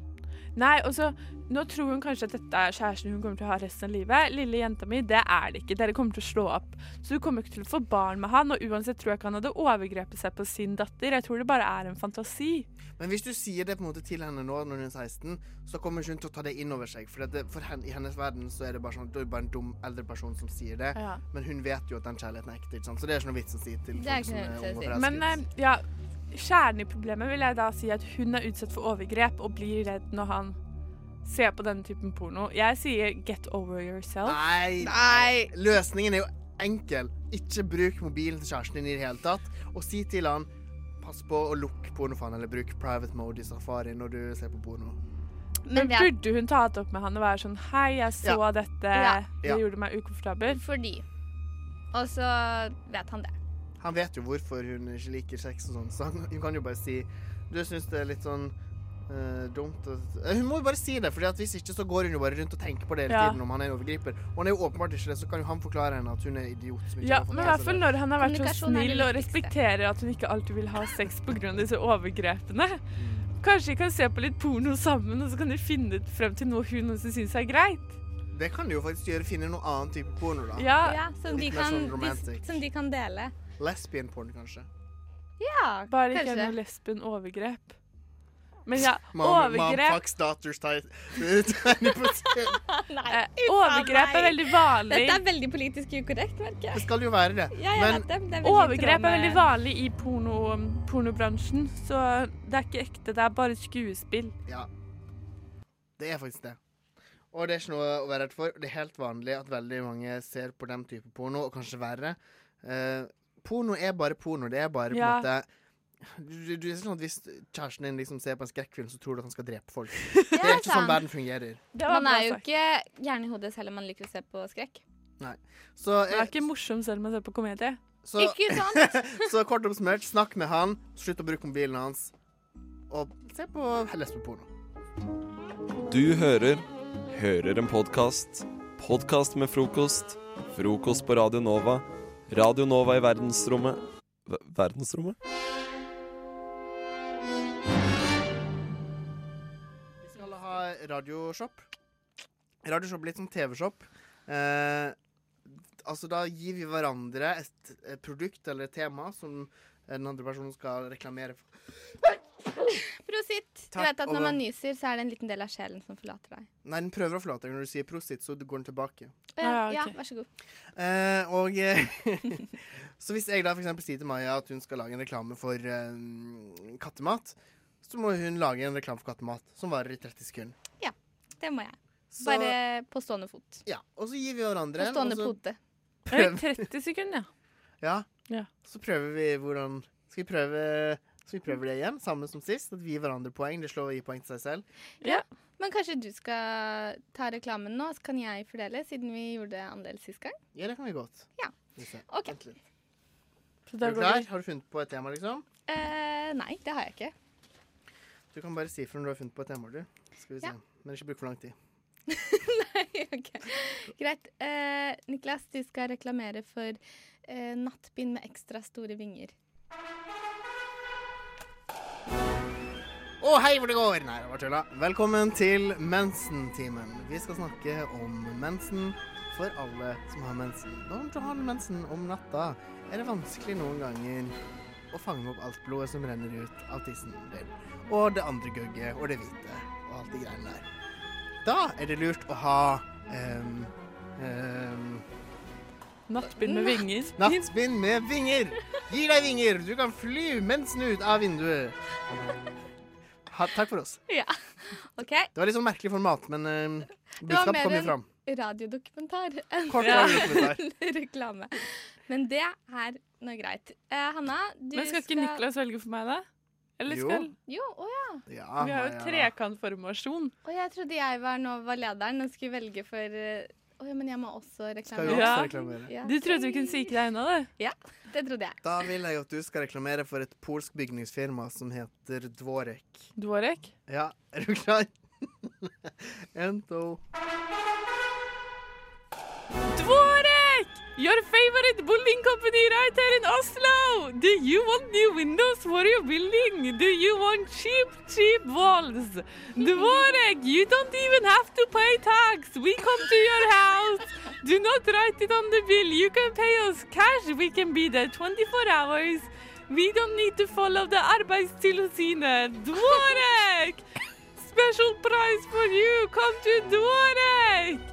Speaker 10: Nei, og så Nå tror hun kanskje at dette er kjæresten hun kommer til å ha resten av livet. Lille jenta mi, det er det ikke. Dere kommer til å slå opp. Så du kommer ikke til å få barn med han, og uansett tror jeg ikke han hadde overgrepet seg på sin datter. Jeg tror det bare er en fantasi.
Speaker 12: Men hvis du sier det på en måte til henne nå når hun er 16, så kommer ikke hun til å ta det inn over seg. For, at det, for hen, i hennes verden så er det bare sånn, det er bare en dum eldre person som sier det.
Speaker 10: Ja.
Speaker 12: Men hun vet jo at den kjærligheten er ekte, ikke sant? så det er ikke noe vits å si til
Speaker 10: Det er
Speaker 12: folk som
Speaker 10: ikke noe
Speaker 12: er
Speaker 10: vits
Speaker 12: unge og
Speaker 10: Men
Speaker 12: forelsket.
Speaker 10: eh, ja, kjernen i problemet vil jeg da si at hun er utsatt for overgrep og blir redd når han ser på denne typen porno. Jeg sier get over yourself.
Speaker 12: Nei, Løsningen er jo enkel. Ikke bruk mobilen til kjæresten din i det hele tatt. Og si til han pass på å lukke pornofanen, eller bruk private mode i safari når du ser på porno.
Speaker 10: Men, burde hun ta det opp med han og være sånn Hei, jeg så
Speaker 12: Ja.
Speaker 10: dette.
Speaker 12: Ja.
Speaker 10: Det
Speaker 12: Ja.
Speaker 10: gjorde meg ukomfortabel.
Speaker 14: Fordi. Og så vet han det.
Speaker 12: Han vet jo hvorfor hun ikke liker sex og sånn, så han, hun kan jo bare si Du syns det er litt sånn eh, dumt å Eh, Hun må jo bare si det, for hvis ikke så går hun jo bare rundt og tenker på det hele
Speaker 10: Ja.
Speaker 12: tiden om han er en overgriper. Og han er jo åpenbart ikke det, så kan jo han forklare henne at hun er idiot. Som ikke
Speaker 10: Ja,
Speaker 12: har fått
Speaker 10: men i
Speaker 12: med
Speaker 10: hvert
Speaker 12: seg
Speaker 10: fall
Speaker 12: det.
Speaker 10: når han har vært så
Speaker 12: Kommunikasjon er det
Speaker 10: snill og
Speaker 12: viktigste.
Speaker 10: respekterer at hun ikke alltid vil ha sex pga. disse overgrepene. Kanskje de kan se på litt porno sammen, og så kan de finne ut frem til noe hun også syns er greit.
Speaker 12: Det kan du jo faktisk gjøre. Finne noe annen type porno, da.
Speaker 14: som, de
Speaker 12: Litt mer
Speaker 14: kan,
Speaker 12: sånn
Speaker 14: de,
Speaker 12: romantic.
Speaker 14: som de kan dele.
Speaker 12: Lesbian porn, kanskje.
Speaker 14: Ja,
Speaker 10: Bare ikke
Speaker 14: kanskje.
Speaker 10: noe lesben overgrep. Men ja,
Speaker 12: Mom, mom
Speaker 10: overgrep
Speaker 12: fucks daughters tight. 20%.
Speaker 14: Nei,
Speaker 10: Eh, overgrep er veldig vanlig.
Speaker 14: Dette er veldig politisk ukorrekt, merker
Speaker 12: Det
Speaker 14: jeg.
Speaker 12: skal jo være det.
Speaker 14: Ja, jeg
Speaker 12: Men
Speaker 14: vet det, men det er veldig eh,
Speaker 10: Overgrep er
Speaker 14: trauma-
Speaker 10: veldig vanlig i porno, um, pornobransjen, så det er ikke ekte. Det er bare skuespill.
Speaker 12: Ja. det er faktisk det. Og det er ikke noe å være redd for. Det er helt vanlig at veldig mange ser på den type porno, og kanskje verre. Eh, porno er bare porno. Det er bare
Speaker 10: Ja.
Speaker 12: på en måte du, du, det er sånn at Hvis kjæresten din liksom ser på en skrekkfilm, så tror du at han skal drepe folk. Det er ikke sånn
Speaker 14: sant.
Speaker 12: verden fungerer.
Speaker 14: Man er
Speaker 10: altså.
Speaker 14: jo ikke gæren i hodet selv om man liker å se på skrekk.
Speaker 12: Nei. Så, eh,
Speaker 10: Det er ikke morsom selv om man ser på komedie.
Speaker 12: Så,
Speaker 14: Ikke sant?
Speaker 12: så kort oppsummert, snakk med han, slutt å bruke mobilen hans, og se på les på porno.
Speaker 1: Du hører Hører en podkast. Podkast med frokost. Frokost på Radio Nova. Radio Nova i verdensrommet Ver- Verdensrommet?
Speaker 12: Vi skal ha radioshop. Radioshop er litt som TV-shop. Eh, altså da gir vi hverandre et, et produkt eller et tema som den andre personen skal reklamere for.
Speaker 14: Prosit. Du
Speaker 12: Takk,
Speaker 14: vet at
Speaker 12: og-
Speaker 14: når man nyser, så er det en liten del av sjelen som forlater deg.
Speaker 12: Nei, den prøver å forlate deg. Når du sier prosit, så går den tilbake.
Speaker 14: Å Ja, ja, vær så god.
Speaker 12: Eh, og eh, Så hvis jeg da for eksempel sier til Maja at hun skal lage en reklame for eh, kattemat, så må hun lage en reklame for kattemat som varer i 30 sekunder.
Speaker 14: Ja, det må jeg.
Speaker 12: Så-
Speaker 14: Bare på stående fot.
Speaker 12: Ja, Og så gir vi hverandre
Speaker 14: På
Speaker 12: en,
Speaker 14: stående
Speaker 12: og så-
Speaker 14: pote.
Speaker 12: Prøv.
Speaker 10: 30 sekunder,
Speaker 12: Ja.
Speaker 10: Ja.
Speaker 12: Så prøver vi hvordan Skal vi prøve, skal vi prøve det igjen, samme som sist? At vi gir hverandre poeng. Det slår å gi poeng til seg selv.
Speaker 14: Ja. Men kanskje du skal ta reklamen nå, så kan jeg fordele, siden vi gjorde det annerledes sist gang.
Speaker 12: Ja, det kan vi godt.
Speaker 14: Ja.
Speaker 12: Skal vi se.
Speaker 14: OK.
Speaker 12: Er du klar? Har du funnet på et tema, liksom?
Speaker 14: Eh, nei, det har jeg ikke.
Speaker 12: Du kan bare si fra når du har funnet på et tema, du. Skal vi se. Men ikke bruk for lang tid.
Speaker 14: Greit. Eh, Niklas, du skal reklamere for eh, nattbind med ekstra store vinger.
Speaker 12: Å, hei hvor det går! Nei, det var tulla. Velkommen til mensentimen. Vi skal snakke om mensen for alle som har mensen. Og om du har mensen om natta, er det vanskelig noen ganger å fange opp alt blodet som renner ut av tissen din. Og det andre gugget, og det hvite, og alt de greiene der. Da er det lurt å ha ehm, ehm,
Speaker 10: Nattbind med vinger.
Speaker 12: Nattbind med vinger. Gi deg vinger. Du kan fly mensen ut av vinduet. Ha, takk for oss.
Speaker 14: Ja. OK.
Speaker 12: Det var litt sånn merkelig format, men ehm,
Speaker 14: Det var
Speaker 12: budskap
Speaker 14: mer
Speaker 12: kom jo
Speaker 14: en
Speaker 12: fram.
Speaker 14: radiodokumentar enn
Speaker 12: Kort radiodokumentar.
Speaker 14: reklame. Men det er nå greit. Eh, Hanna, du
Speaker 10: Men skal ikke Niklas velge for meg, da? Eller
Speaker 14: Jo.
Speaker 10: skal
Speaker 14: Jo, å ja.
Speaker 12: Ja,
Speaker 10: Vi har jo
Speaker 12: ja, ja.
Speaker 10: trekantformasjon.
Speaker 14: Og jeg trodde jeg var nå var lederen og skulle velge for eh, Å ja, men jeg må også reklamere.
Speaker 12: jo også Ja. reklamere.
Speaker 14: Ja.
Speaker 10: Du trodde vi kunne psyke deg unna, du.
Speaker 14: Ja, det trodde jeg.
Speaker 12: Da vil jeg at du skal reklamere for et polsk bygningsfirma som heter Dvorek.
Speaker 10: Dvorek?
Speaker 12: Ja, er du klar? En, to
Speaker 10: Dvorek! Your favorite building company right here in Oslo! Do you want new windows for your building? Do you want cheap, cheap walls? Dvorek, you don't even have to pay tax. We come to your house. Do not write it on the bill. You can pay us cash. We can be there 24 hours. We don't need to follow the arbeidstilsynet. Dvorek! Special price for you. Come to Dvorek!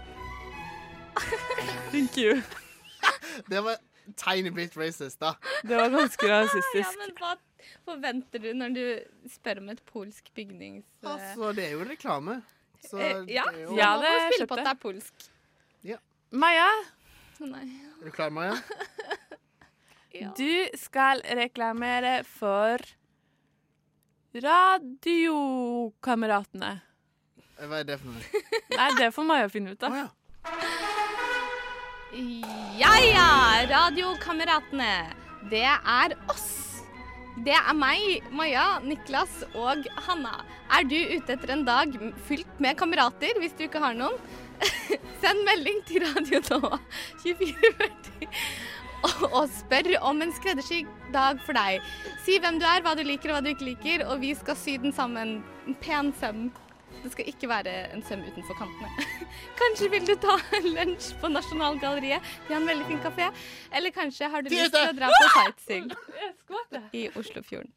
Speaker 10: Thank you.
Speaker 12: Det var tiny bit racist, da.
Speaker 10: Det var ganske
Speaker 14: Ja, men hva forventer du når du spør om et polsk bygnings... eh,
Speaker 12: Altså, det er jo reklame. Så
Speaker 14: eh, ja,
Speaker 12: det er
Speaker 14: så
Speaker 12: jo
Speaker 14: man må spille på at det er polsk.
Speaker 12: Ja.
Speaker 10: Maja,
Speaker 14: Å, Nei.
Speaker 12: Er du klar, Maja?
Speaker 10: du skal reklamere for Radiokameratene.
Speaker 12: Eh, Hva er det for noe?
Speaker 10: Nei, det får Maja finne ut av.
Speaker 14: Ja ja, Radiokameratene. Det er oss. Det er meg, Maja, Niklas og Hanna. Er du ute etter en dag m- Mm, fylt med kamerater, hvis du ikke har noen? Send melding til Radio Nova 2440 og- og spør om en skreddersydd dag for deg. Si hvem du er, hva du liker og hva du ikke liker, og vi skal sy den sammen. En pen søm. Det skal ikke være en søm utenfor kantene. Kanskje vil du ta en lunsj på Nasjonalgalleriet. De har en veldig fin kafé. Eller kanskje har du lyst til å dra på sightseeing i Oslofjorden.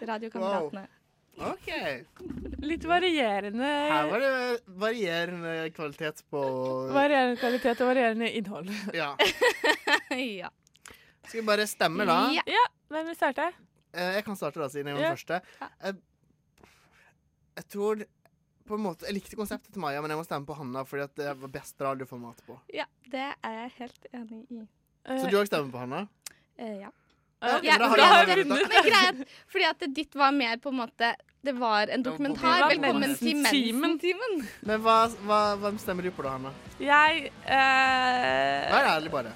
Speaker 14: Radiokameratene.
Speaker 12: OK.
Speaker 10: Litt varierende
Speaker 12: Her var det varierende kvalitet på
Speaker 10: Varierende kvalitet og varierende innhold.
Speaker 12: Ja.
Speaker 14: ja.
Speaker 12: Skal vi bare stemme, da?
Speaker 10: Ja. ja. Hvem vil starte?
Speaker 12: Eh, Jeg kan starte, da, siden jeg var
Speaker 10: Ja.
Speaker 12: den første. Jeg, jeg tror på en måte, Jeg likte konseptet til Maja, men jeg må stemme på Hanna, fordi at det var best radioformat på.
Speaker 14: Ja, det er jeg helt enig i.
Speaker 12: Så du òg stemmer på Hanna?
Speaker 14: Eh, ja.
Speaker 12: Ja,
Speaker 14: Jeg-
Speaker 12: men da har
Speaker 14: det-
Speaker 12: jeg
Speaker 14: det-
Speaker 12: vunnet, da.
Speaker 14: Men greit, fordi at ditt var mer på en måte Det var en dokumentar.
Speaker 10: Det var
Speaker 14: Velkommen til
Speaker 10: mensen-timen.
Speaker 14: mensen-timen.
Speaker 12: Men hva, hva, hva stemmer du på, da, Hanna?
Speaker 10: Jeg
Speaker 12: Vær
Speaker 10: eh,
Speaker 12: ærlig, bare.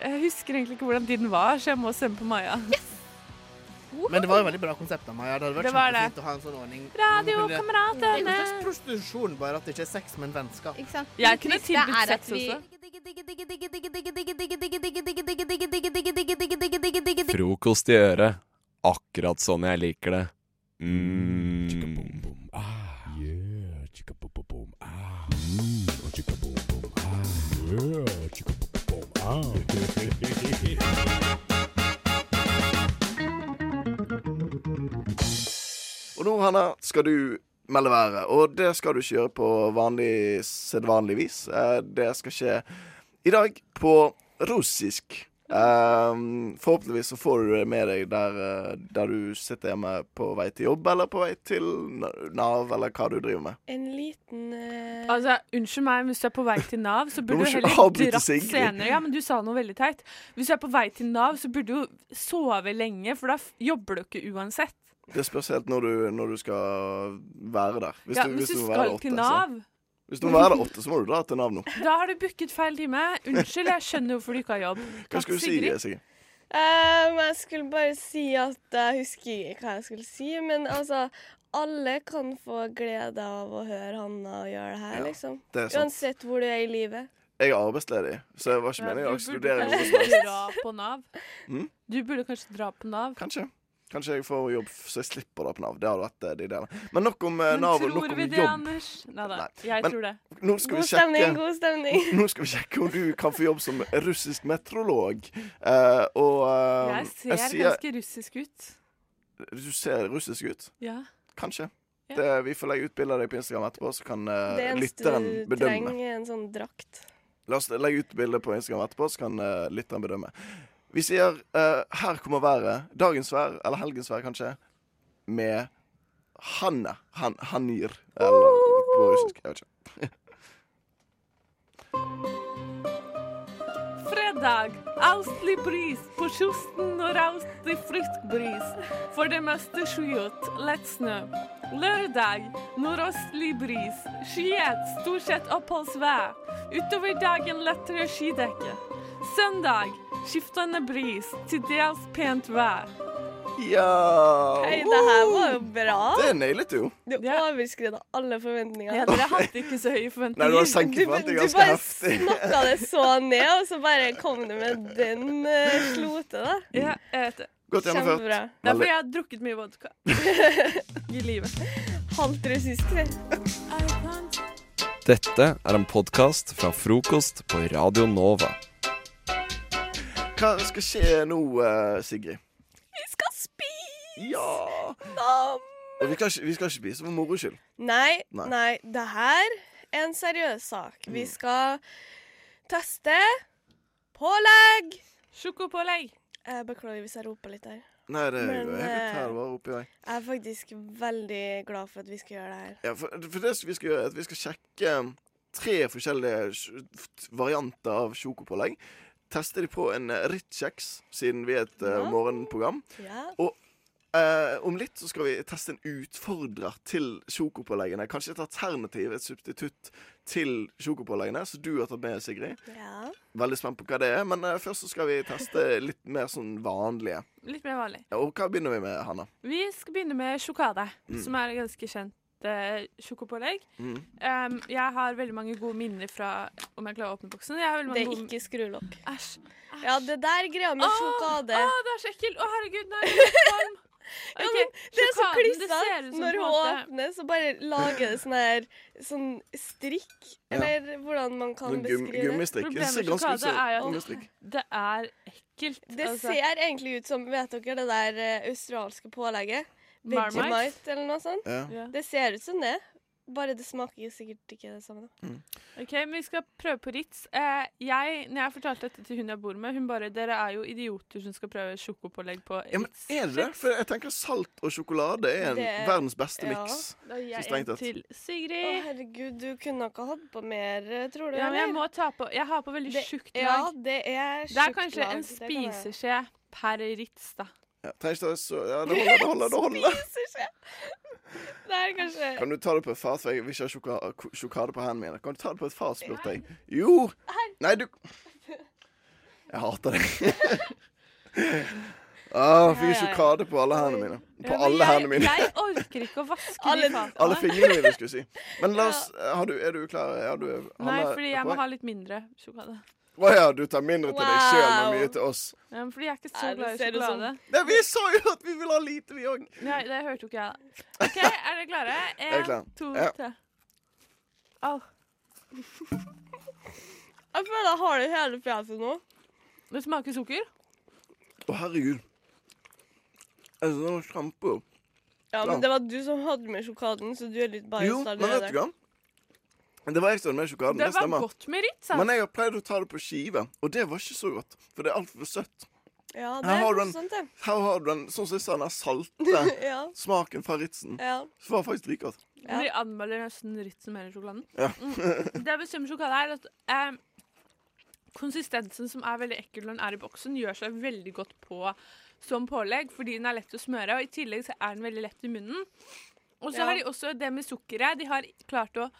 Speaker 10: Jeg husker egentlig ikke hvordan din var, så jeg må stemme på Maja.
Speaker 12: Men det var jo veldig bra konsept av Maja. Det hadde vært
Speaker 10: Det var
Speaker 12: kjempefint
Speaker 10: det.
Speaker 12: å ha en sånn ordning. Det er jo en
Speaker 10: Radiokameratene!
Speaker 12: slags prostitusjon, bare at det ikke er sex, men vennskap.
Speaker 14: Ikke sant?
Speaker 10: Jeg
Speaker 14: Det
Speaker 10: kunne
Speaker 14: triste
Speaker 10: tilbudt
Speaker 14: er at
Speaker 10: sex
Speaker 14: vi-
Speaker 10: også.
Speaker 1: Frokost i øret. Akkurat sånn jeg liker det. Mm.
Speaker 6: Og nå, Hanna, skal du melde været. Og det skal du ikke gjøre på vanlig, sedvanlig vis. Eh, Det skal skje i dag på russisk. Ehm, forhåpentligvis så får du det med deg der, eh, der du sitter hjemme på vei til jobb, eller på vei til N- Nav, eller hva du driver med.
Speaker 10: En liten Altså, Unnskyld meg, men hvis du er på vei til Nav, så burde
Speaker 6: må
Speaker 10: du
Speaker 6: ikke
Speaker 10: heller
Speaker 6: avbryte
Speaker 10: dratt
Speaker 6: Sigrid.
Speaker 10: senere. Ja, men du sa noe veldig teit. Hvis du er på vei til Nav, så burde du jo sove lenge, for da f- jobber du ikke uansett.
Speaker 6: Det spørs helt når du, når du skal være der.
Speaker 10: ja, hvis du
Speaker 6: må være
Speaker 10: skal
Speaker 6: der åtte,
Speaker 10: til
Speaker 12: altså.
Speaker 6: så-
Speaker 10: Nav,
Speaker 6: Hvis du må være der åtte, så må du dra til Nav nå.
Speaker 10: da har du booket feil time. Unnskyld, jeg skjønner hvorfor du ikke har jobb.
Speaker 6: Hva skal du si, Sigrid?
Speaker 15: Ehm, jeg skulle bare si at jeg husker ikke hva jeg skulle si, men altså Alle kan få glede av å høre Hanna og gjøre det her, liksom.
Speaker 6: det er sant.
Speaker 15: Uansett hvor du er i livet.
Speaker 6: Jeg er arbeidsledig, så jeg var ikke meningen å ekskludere noen som helst.
Speaker 10: kanskje dra på Nav.
Speaker 6: Mm?
Speaker 10: Du burde kanskje dra på Nav.
Speaker 6: Kanskje. Kanskje jeg får jobb f- så jeg slipper det på Nav. Det hadde vært eh, det ideelle. Men nok om eh,
Speaker 10: Men
Speaker 6: Nav og
Speaker 10: tror
Speaker 6: nok om
Speaker 10: vi det,
Speaker 6: jobb.
Speaker 10: Anders? Neida, jeg
Speaker 6: Men
Speaker 10: tror det.
Speaker 6: Nå skal vi
Speaker 15: God
Speaker 6: sjekke
Speaker 15: stemning, god stemning.
Speaker 6: Nå skal vi sjekke om du kan få jobb som russisk meteorolog. Eh, og eh,
Speaker 10: Jeg ser
Speaker 6: sier-
Speaker 10: ganske russisk ut.
Speaker 6: Du ser russisk ut.
Speaker 10: Ja.
Speaker 6: Kanskje. Det, vi får legge ut bilde av deg på Instagram etterpå, så kan eh,
Speaker 15: Det eneste
Speaker 6: lytteren
Speaker 15: du
Speaker 6: bedømme.
Speaker 15: trenger, er en sånn drakt.
Speaker 6: La oss legge ut bilde på Instagram etterpå, så kan eh, lytteren bedømme. Vi sier eh, 'Her kommer været'. Dagens vær, eller helgens vær, kanskje, med Hanne. Han, hanir. Eller på russisk. Jeg vet ikke.
Speaker 10: Fredag. Austlig bris på kysten og raustig frisk bris. For det meste skyet, lett snø. Lørdag. Nordøstlig bris. Skyet, stort sett oppholdsvær. Utover dagen lettere skydekke. Søndag. Skiftende bris, til dels pent vær.
Speaker 6: Ja
Speaker 15: Hei, det her var jo bra.
Speaker 6: Det nailet du jo.
Speaker 15: Du overskred alle forventninger.
Speaker 10: Ja, dere hadde ikke så høye forventninger.
Speaker 6: Nei, du har senket forventninger ganske heftig.
Speaker 15: Du bare snakka det så ned, og så bare kom du med den uh, slote, da.
Speaker 10: Ja, jeg vet det.
Speaker 6: Godt gjennomført.
Speaker 15: Kjempebra.
Speaker 10: Det er fordi jeg har drukket mye vodka. I livet.
Speaker 15: Halvt russisk,
Speaker 10: det.
Speaker 1: Dette er en podkast fra frokost på Radio Nova.
Speaker 6: Hva skal skje nå, eh, Sigrid?
Speaker 15: Vi skal spise
Speaker 6: Ja!
Speaker 15: nam.
Speaker 6: Og vi, kan, ikke- vi skal ikke spise for moro skyld.
Speaker 15: Nei,
Speaker 6: Nei. Mm.
Speaker 15: nei, Det her er en seriøs sak. Vi skal teste pålegg.
Speaker 10: Sjokopålegg.
Speaker 15: Jeg beklager hvis jeg roper litt her.
Speaker 6: Nei, det er jo
Speaker 15: Men,
Speaker 6: helt
Speaker 15: eh,
Speaker 6: her bare oppi vei.
Speaker 15: Jeg er faktisk veldig glad for at vi skal gjøre det her.
Speaker 6: Ja, for, for det vi skal gjøre, er at vi skal sjekke tre forskjellige sj- f- varianter av sjokopålegg. Teste de på en eh, Ritz-kjeks, siden vi er et eh,
Speaker 15: Ja.
Speaker 6: morgenprogram.
Speaker 15: Ja.
Speaker 6: Og eh, om litt så skal vi teste en utfordrer til sjokopåleggene. Kanskje et alternativ, et substitutt til sjokopåleggene, som du har tatt med, Sigrid.
Speaker 15: Ja.
Speaker 6: Veldig spent på hva det er, men eh, først så skal vi teste litt mer sånn vanlige.
Speaker 10: Litt mer vanlig.
Speaker 6: Ja, Og hva begynner vi med, Hanna?
Speaker 10: Vi skal begynne med sjokade,
Speaker 6: Mm.
Speaker 10: som er et ganske kjent eh, sjokopålegg.
Speaker 6: Mm.
Speaker 10: Um, jeg har veldig mange gode minner fra Om jeg klarer å åpne boksen? Jeg har veldig
Speaker 15: Det
Speaker 10: mange
Speaker 15: er
Speaker 10: gode...
Speaker 15: ikke skrulokk.
Speaker 10: Æsj.
Speaker 15: Ja, det der greia med sjokade
Speaker 10: Å, det er så ekkelt! Å, herregud, nå er jeg litt varm.
Speaker 15: Ja,
Speaker 10: Ok,
Speaker 15: men Det er så
Speaker 10: sjokaden, det
Speaker 15: klissa
Speaker 10: ser ut som
Speaker 15: når
Speaker 10: på en
Speaker 15: hun
Speaker 10: måte-
Speaker 15: åpner, så bare lager det sånn her sånn strikk.
Speaker 6: Ja.
Speaker 15: Eller hvordan man kan
Speaker 6: Sånn gum-
Speaker 15: beskrive det.
Speaker 6: gummistrikk. Det
Speaker 10: Problemet
Speaker 6: ser
Speaker 10: med
Speaker 6: ganske ut
Speaker 10: sjokade
Speaker 6: som
Speaker 10: er jo at
Speaker 6: gummistrikk.
Speaker 10: det er ekkelt. altså.
Speaker 15: Det ser egentlig ut som vet dere, det der eh, australske pålegget.
Speaker 10: Marmite?
Speaker 15: Vegemite eller noe sånt.
Speaker 10: Ja. Ja.
Speaker 15: Det ser ut som det. Bare det smaker sikkert ikke det samme. da.
Speaker 10: Ok, men Vi skal prøve på Ritz. Eh, jeg, når jeg fortalte dette til hun jeg bor med, hun bare 'Dere er jo idioter som skal prøve sjokopålegg på
Speaker 6: Ja, men
Speaker 10: Ritz'.
Speaker 6: er det det? For jeg tenker salt og sjokolade er en,
Speaker 15: Det-
Speaker 6: verdens beste
Speaker 15: ja.
Speaker 6: miks.
Speaker 10: Da gir
Speaker 6: Så
Speaker 10: jeg
Speaker 6: strengt
Speaker 10: en
Speaker 6: tatt.
Speaker 10: til Sigrid.
Speaker 15: Å, herregud, du kunne ikke hatt på mer, eh, tror du?
Speaker 10: Ja, men jeg
Speaker 15: eller?
Speaker 10: må ta på Jeg har på veldig
Speaker 15: Det-
Speaker 10: tjukt lag.
Speaker 15: Ja, det er
Speaker 10: Det er
Speaker 15: tjukt
Speaker 10: kanskje
Speaker 15: lag,
Speaker 10: en
Speaker 15: det kan være.
Speaker 10: spiseskje per Ritz, da.
Speaker 6: Ja, trenger ikke ta så, ja, det holder, det holder, det holder.
Speaker 15: Spiseskje. Det er kanskje
Speaker 6: Kan du ta det på et fat, for jeg vil ikke ha sjoka- ko- sjokade på hendene mine. Kan du ta det på et fat, spurte jeg. Jo! Nei, du Jeg hater deg. Ah, fikk jeg sjokade på alle hendene mine. På alle hendene mine.
Speaker 10: Jeg orker ikke å vaske de fatene.
Speaker 6: Alle fingrene mine, skulle jeg si. Men la oss har du, Er du klar? Ja, du er
Speaker 10: Nei,
Speaker 6: Hanna er
Speaker 10: fordi jeg
Speaker 6: på vei.
Speaker 10: må ha litt mindre sjokade.
Speaker 6: Å ja, du tar mindre til deg sjøl, men
Speaker 10: Wow.
Speaker 6: mye til oss.
Speaker 10: Ja, men fordi jeg er ikke
Speaker 15: Nei,
Speaker 10: så
Speaker 15: det
Speaker 10: glad i
Speaker 15: ser ut som-
Speaker 10: sjokolade.
Speaker 6: Nei, vi sa jo at vi ville ha lite, vi òg.
Speaker 10: Nei, det hørte jo ikke jeg, da. OK, er dere klare?
Speaker 6: Jeg er klar.
Speaker 10: En, to,
Speaker 6: Ja.
Speaker 10: tre. Au.
Speaker 15: Jeg føler jeg har det i hele fjeset nå.
Speaker 10: Det smaker sukker.
Speaker 6: Å, herregud. Jeg synes det var sjampo.
Speaker 15: Ja,
Speaker 6: Ja.
Speaker 15: men det var du som hadde med sjokaden, så du er litt biased
Speaker 6: Jo, men vet du hva? Det var jeg som hadde med sjokoladen.
Speaker 10: Det
Speaker 6: Det
Speaker 10: var
Speaker 6: stemmer.
Speaker 10: godt med Ritz, ass.
Speaker 6: Men jeg har pleid å ta det på skive, og det var ikke så godt. For det er altfor søtt.
Speaker 15: Ja, det
Speaker 6: Her
Speaker 15: er
Speaker 6: har du
Speaker 15: noe
Speaker 6: en-
Speaker 15: sånt, det.
Speaker 6: Her har du den sånn som jeg sa, den her salte
Speaker 15: Ja.
Speaker 6: smaken fra Ritzen.
Speaker 15: Ja.
Speaker 6: Så var det faktisk like godt.
Speaker 10: De anmelder nesten Ritz som hele sjokoladen.
Speaker 6: Ja.
Speaker 10: Mm. Det jeg bestemmer sjokolade, er at eh, konsistensen som er veldig ekkel når den er i boksen, gjør seg veldig godt på som pålegg, fordi den er lett å smøre, og i tillegg så er den veldig lett i munnen. Og så
Speaker 15: Ja.
Speaker 10: har de også det med sukkeret. De har klart å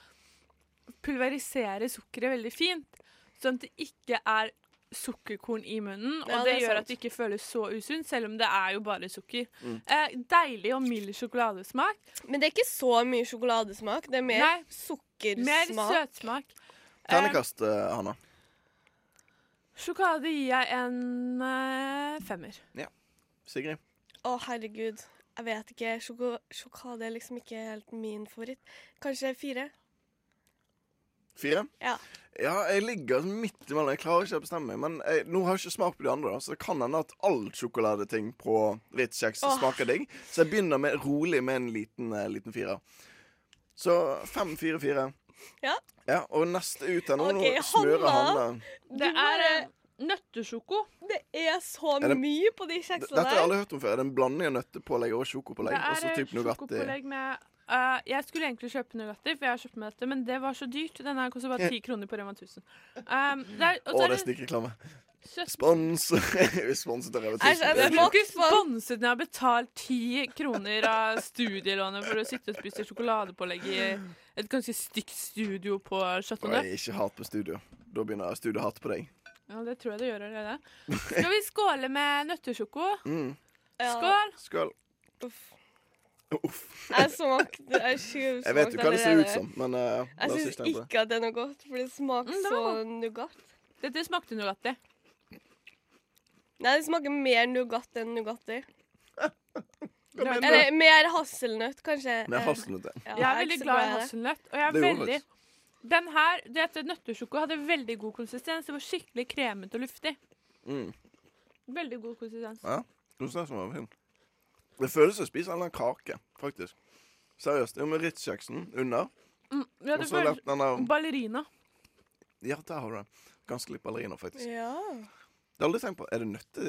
Speaker 10: pulverisere sukkeret veldig fint, sånn at det ikke er sukkerkorn i munnen, og
Speaker 15: Ja,
Speaker 10: det,
Speaker 15: det er
Speaker 10: gjør
Speaker 15: sant.
Speaker 10: at det ikke føles så usunt, selv om det er jo bare sukker.
Speaker 15: Mm.
Speaker 10: Eh, deilig og mild sjokoladesmak.
Speaker 15: Men det er ikke så mye sjokoladesmak. Det er mer
Speaker 10: Nei.
Speaker 15: sukkersmak.
Speaker 10: Mer søtsmak.
Speaker 6: Ternekast, eh, Hanna.
Speaker 10: Eh, Sjokolade gir jeg en eh, femmer.
Speaker 6: Ja. Sigrid.
Speaker 15: Å, herregud. Jeg vet ikke. Sjoko sjokade er liksom ikke helt min favoritt. Kanskje fire?
Speaker 6: Fire?
Speaker 15: Ja.
Speaker 6: Ja, jeg ligger midt imellom. Jeg klarer ikke å bestemme meg. Men jeg, nå har jeg ikke smakt på de andre, da, så det kan hende at all sjokoladeting på Ritz-kjeks
Speaker 15: Åh.
Speaker 6: smaker digg. Så jeg begynner med, rolig med en liten, eh, liten firer. Så fem, fire, fire.
Speaker 15: Ja.
Speaker 6: Ja, og neste ut her nå
Speaker 15: OK,
Speaker 6: nå smører
Speaker 15: Hanna.
Speaker 6: Hanne.
Speaker 15: Det er
Speaker 10: eh,
Speaker 15: nøttesjoko. Det er så
Speaker 6: Er det-
Speaker 15: mye på de
Speaker 6: D-
Speaker 15: kjeksene
Speaker 6: Dette
Speaker 15: der.
Speaker 6: har jeg aldri hørt om før. Er det en blanding av nøttepålegg og sjokopålegg?
Speaker 10: Det
Speaker 6: Og så
Speaker 10: er eh,
Speaker 6: typ Nugatti?
Speaker 10: sjokopålegg med eh, Jeg skulle egentlig kjøpe Nugatti, for jeg har kjøpt med dette, men det var så dyrt. Den her koster bare 10 kroner på Rema 1000. Um, det er, og
Speaker 6: Å,
Speaker 10: så
Speaker 6: det
Speaker 10: er
Speaker 6: er
Speaker 10: det
Speaker 6: snikreklame.
Speaker 10: kjøtt-
Speaker 6: Spons! Sponset av Reve
Speaker 10: Æsj, æsj, jeg må
Speaker 6: 1000.
Speaker 10: ikke sponse den. Jeg har betalt 10 kroner av studielånet for å sitte og spise sjokoladepålegg i et ganske stygt studio på Chateau
Speaker 6: Nei,
Speaker 10: Neuf.
Speaker 6: ikke hat på studio. Da begynner studio hat på deg.
Speaker 10: Ja, det tror jeg det gjør allerede. Skal vi skåle med nøttesjoko?
Speaker 6: Mm.
Speaker 10: Skål!
Speaker 6: Skål.
Speaker 15: Jeg smakte Jeg, tjuvsmakte
Speaker 6: Jeg vet jo hva det ser
Speaker 15: allerede.
Speaker 6: ut som, men eh,
Speaker 15: Jeg
Speaker 6: la oss
Speaker 15: syns
Speaker 6: ikke tenke på det.
Speaker 15: ikke at det er noe godt, for det smaker
Speaker 10: Mm, det
Speaker 15: så
Speaker 10: var
Speaker 15: nougat.
Speaker 10: Dette smakte Nugatti.
Speaker 15: Nei, det smaker mer nougat enn Nugatti.
Speaker 10: mener du?
Speaker 15: Eller mer hasselnøtt, kanskje.
Speaker 6: Mer
Speaker 15: Eh,
Speaker 6: hasselnøtt, ja.
Speaker 15: ja,
Speaker 10: Jeg er
Speaker 15: ikke
Speaker 10: veldig
Speaker 15: så
Speaker 10: glad i
Speaker 15: det.
Speaker 10: hasselnøtt. Og jeg er
Speaker 6: Det gjorde
Speaker 10: veldig
Speaker 6: jeg
Speaker 10: Den her, dette nøttesjoko hadde veldig god konsistens. Det var skikkelig kremete og luftig.
Speaker 6: Mm.
Speaker 10: Veldig god konsistens.
Speaker 6: Ja. Konsistensen var fin. Det føles som å spise en eller annen kake, faktisk. Seriøst. Jo, med Ritz-kjeksen under.
Speaker 10: Mm, ja,
Speaker 6: Og
Speaker 10: det
Speaker 6: så lett
Speaker 10: føles
Speaker 6: den der-
Speaker 10: Ballerina.
Speaker 6: Ja, der har du den. Ganske litt ballerina, faktisk.
Speaker 10: Ja.
Speaker 6: Det har jeg aldri tenkt på. Er det nøtte...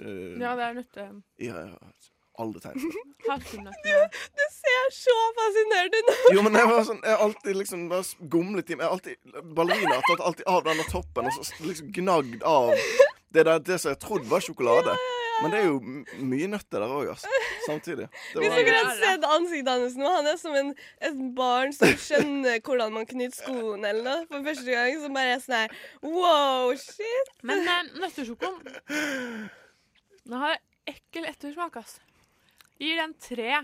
Speaker 6: eh,
Speaker 10: ja, det er nøtte...
Speaker 6: Ja, ja, ja. Aldri tenkt på det.
Speaker 10: Hasselnøttene.
Speaker 15: Du ser så fascinerende ut nå.
Speaker 6: Jo, men jeg var sånn Jeg har alltid liksom bare s- gomlet i meg. Jeg har alltid- Ballerina har tatt alltid av denne toppen og så s- liksom gnagd av det, der, det som jeg trodde var sjokolade. Men det er jo m- mye nøtter der òg, altså. Samtidig. Det
Speaker 15: Hvis
Speaker 6: var-
Speaker 15: dere hadde sett ansiktet hans nå Han er som en, et barn som skjønner hvordan man knytter skoene eller noe. For første gang som bare er sånn her Wow, shit.
Speaker 10: Men eh, nøttesjokoen Den har ekkel ettersmak, ass. Gir den tre.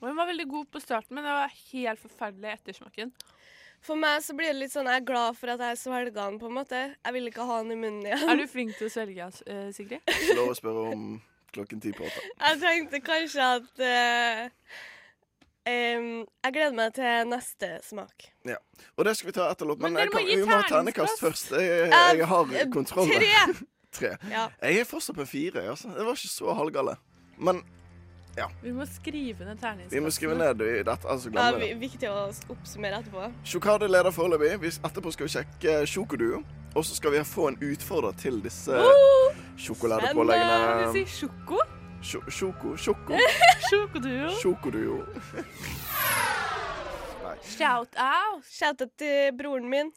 Speaker 10: Og den var veldig god på starten, men det var helt forferdelig i ettersmaken.
Speaker 15: For meg så blir det litt sånn Jeg er glad for at jeg svelga den, på en måte. Jeg vil ikke ha den i munnen igjen.
Speaker 10: Er du flink til å svelge, ass, eh, Sigrid?
Speaker 6: Ikke lov å spørre om klokken ti på åtte.
Speaker 15: Jeg tenkte kanskje at eh, em, Jeg gleder meg til neste smak.
Speaker 6: Ja. Og det skal vi ta etter låt, men,
Speaker 15: Men
Speaker 6: jeg
Speaker 15: dere må
Speaker 6: kan,
Speaker 15: gi
Speaker 6: vi må ha
Speaker 15: terningkast.
Speaker 6: ternekast først. Jeg, jeg, jeg
Speaker 15: Eh,
Speaker 6: har kontroll.
Speaker 15: tre.
Speaker 6: Tre.
Speaker 15: Ja.
Speaker 6: Jeg er fortsatt på en fire. Altså. Det var ikke så halvgale. Men ja,
Speaker 10: Vi må skrive ned terningskassen.
Speaker 6: vi må skrive ned i dette, altså, ellers så
Speaker 15: Ja,
Speaker 6: glemmer vi
Speaker 15: vi-
Speaker 6: det.
Speaker 15: viktig å s- oppsummere etterpå.
Speaker 6: Sjokade leder foreløpig. Vi- Etterpå skal vi sjekke Sjokoduo. Og så skal vi få en utfordrer til disse
Speaker 10: Oh, Kan du si
Speaker 6: sjokoladepåleggene.
Speaker 10: sjoko?
Speaker 6: Sjo- Sjoko, sjoko,
Speaker 10: Sjokoduo.
Speaker 6: sjokoduo.
Speaker 10: Shout out.
Speaker 15: Shout out til broren min.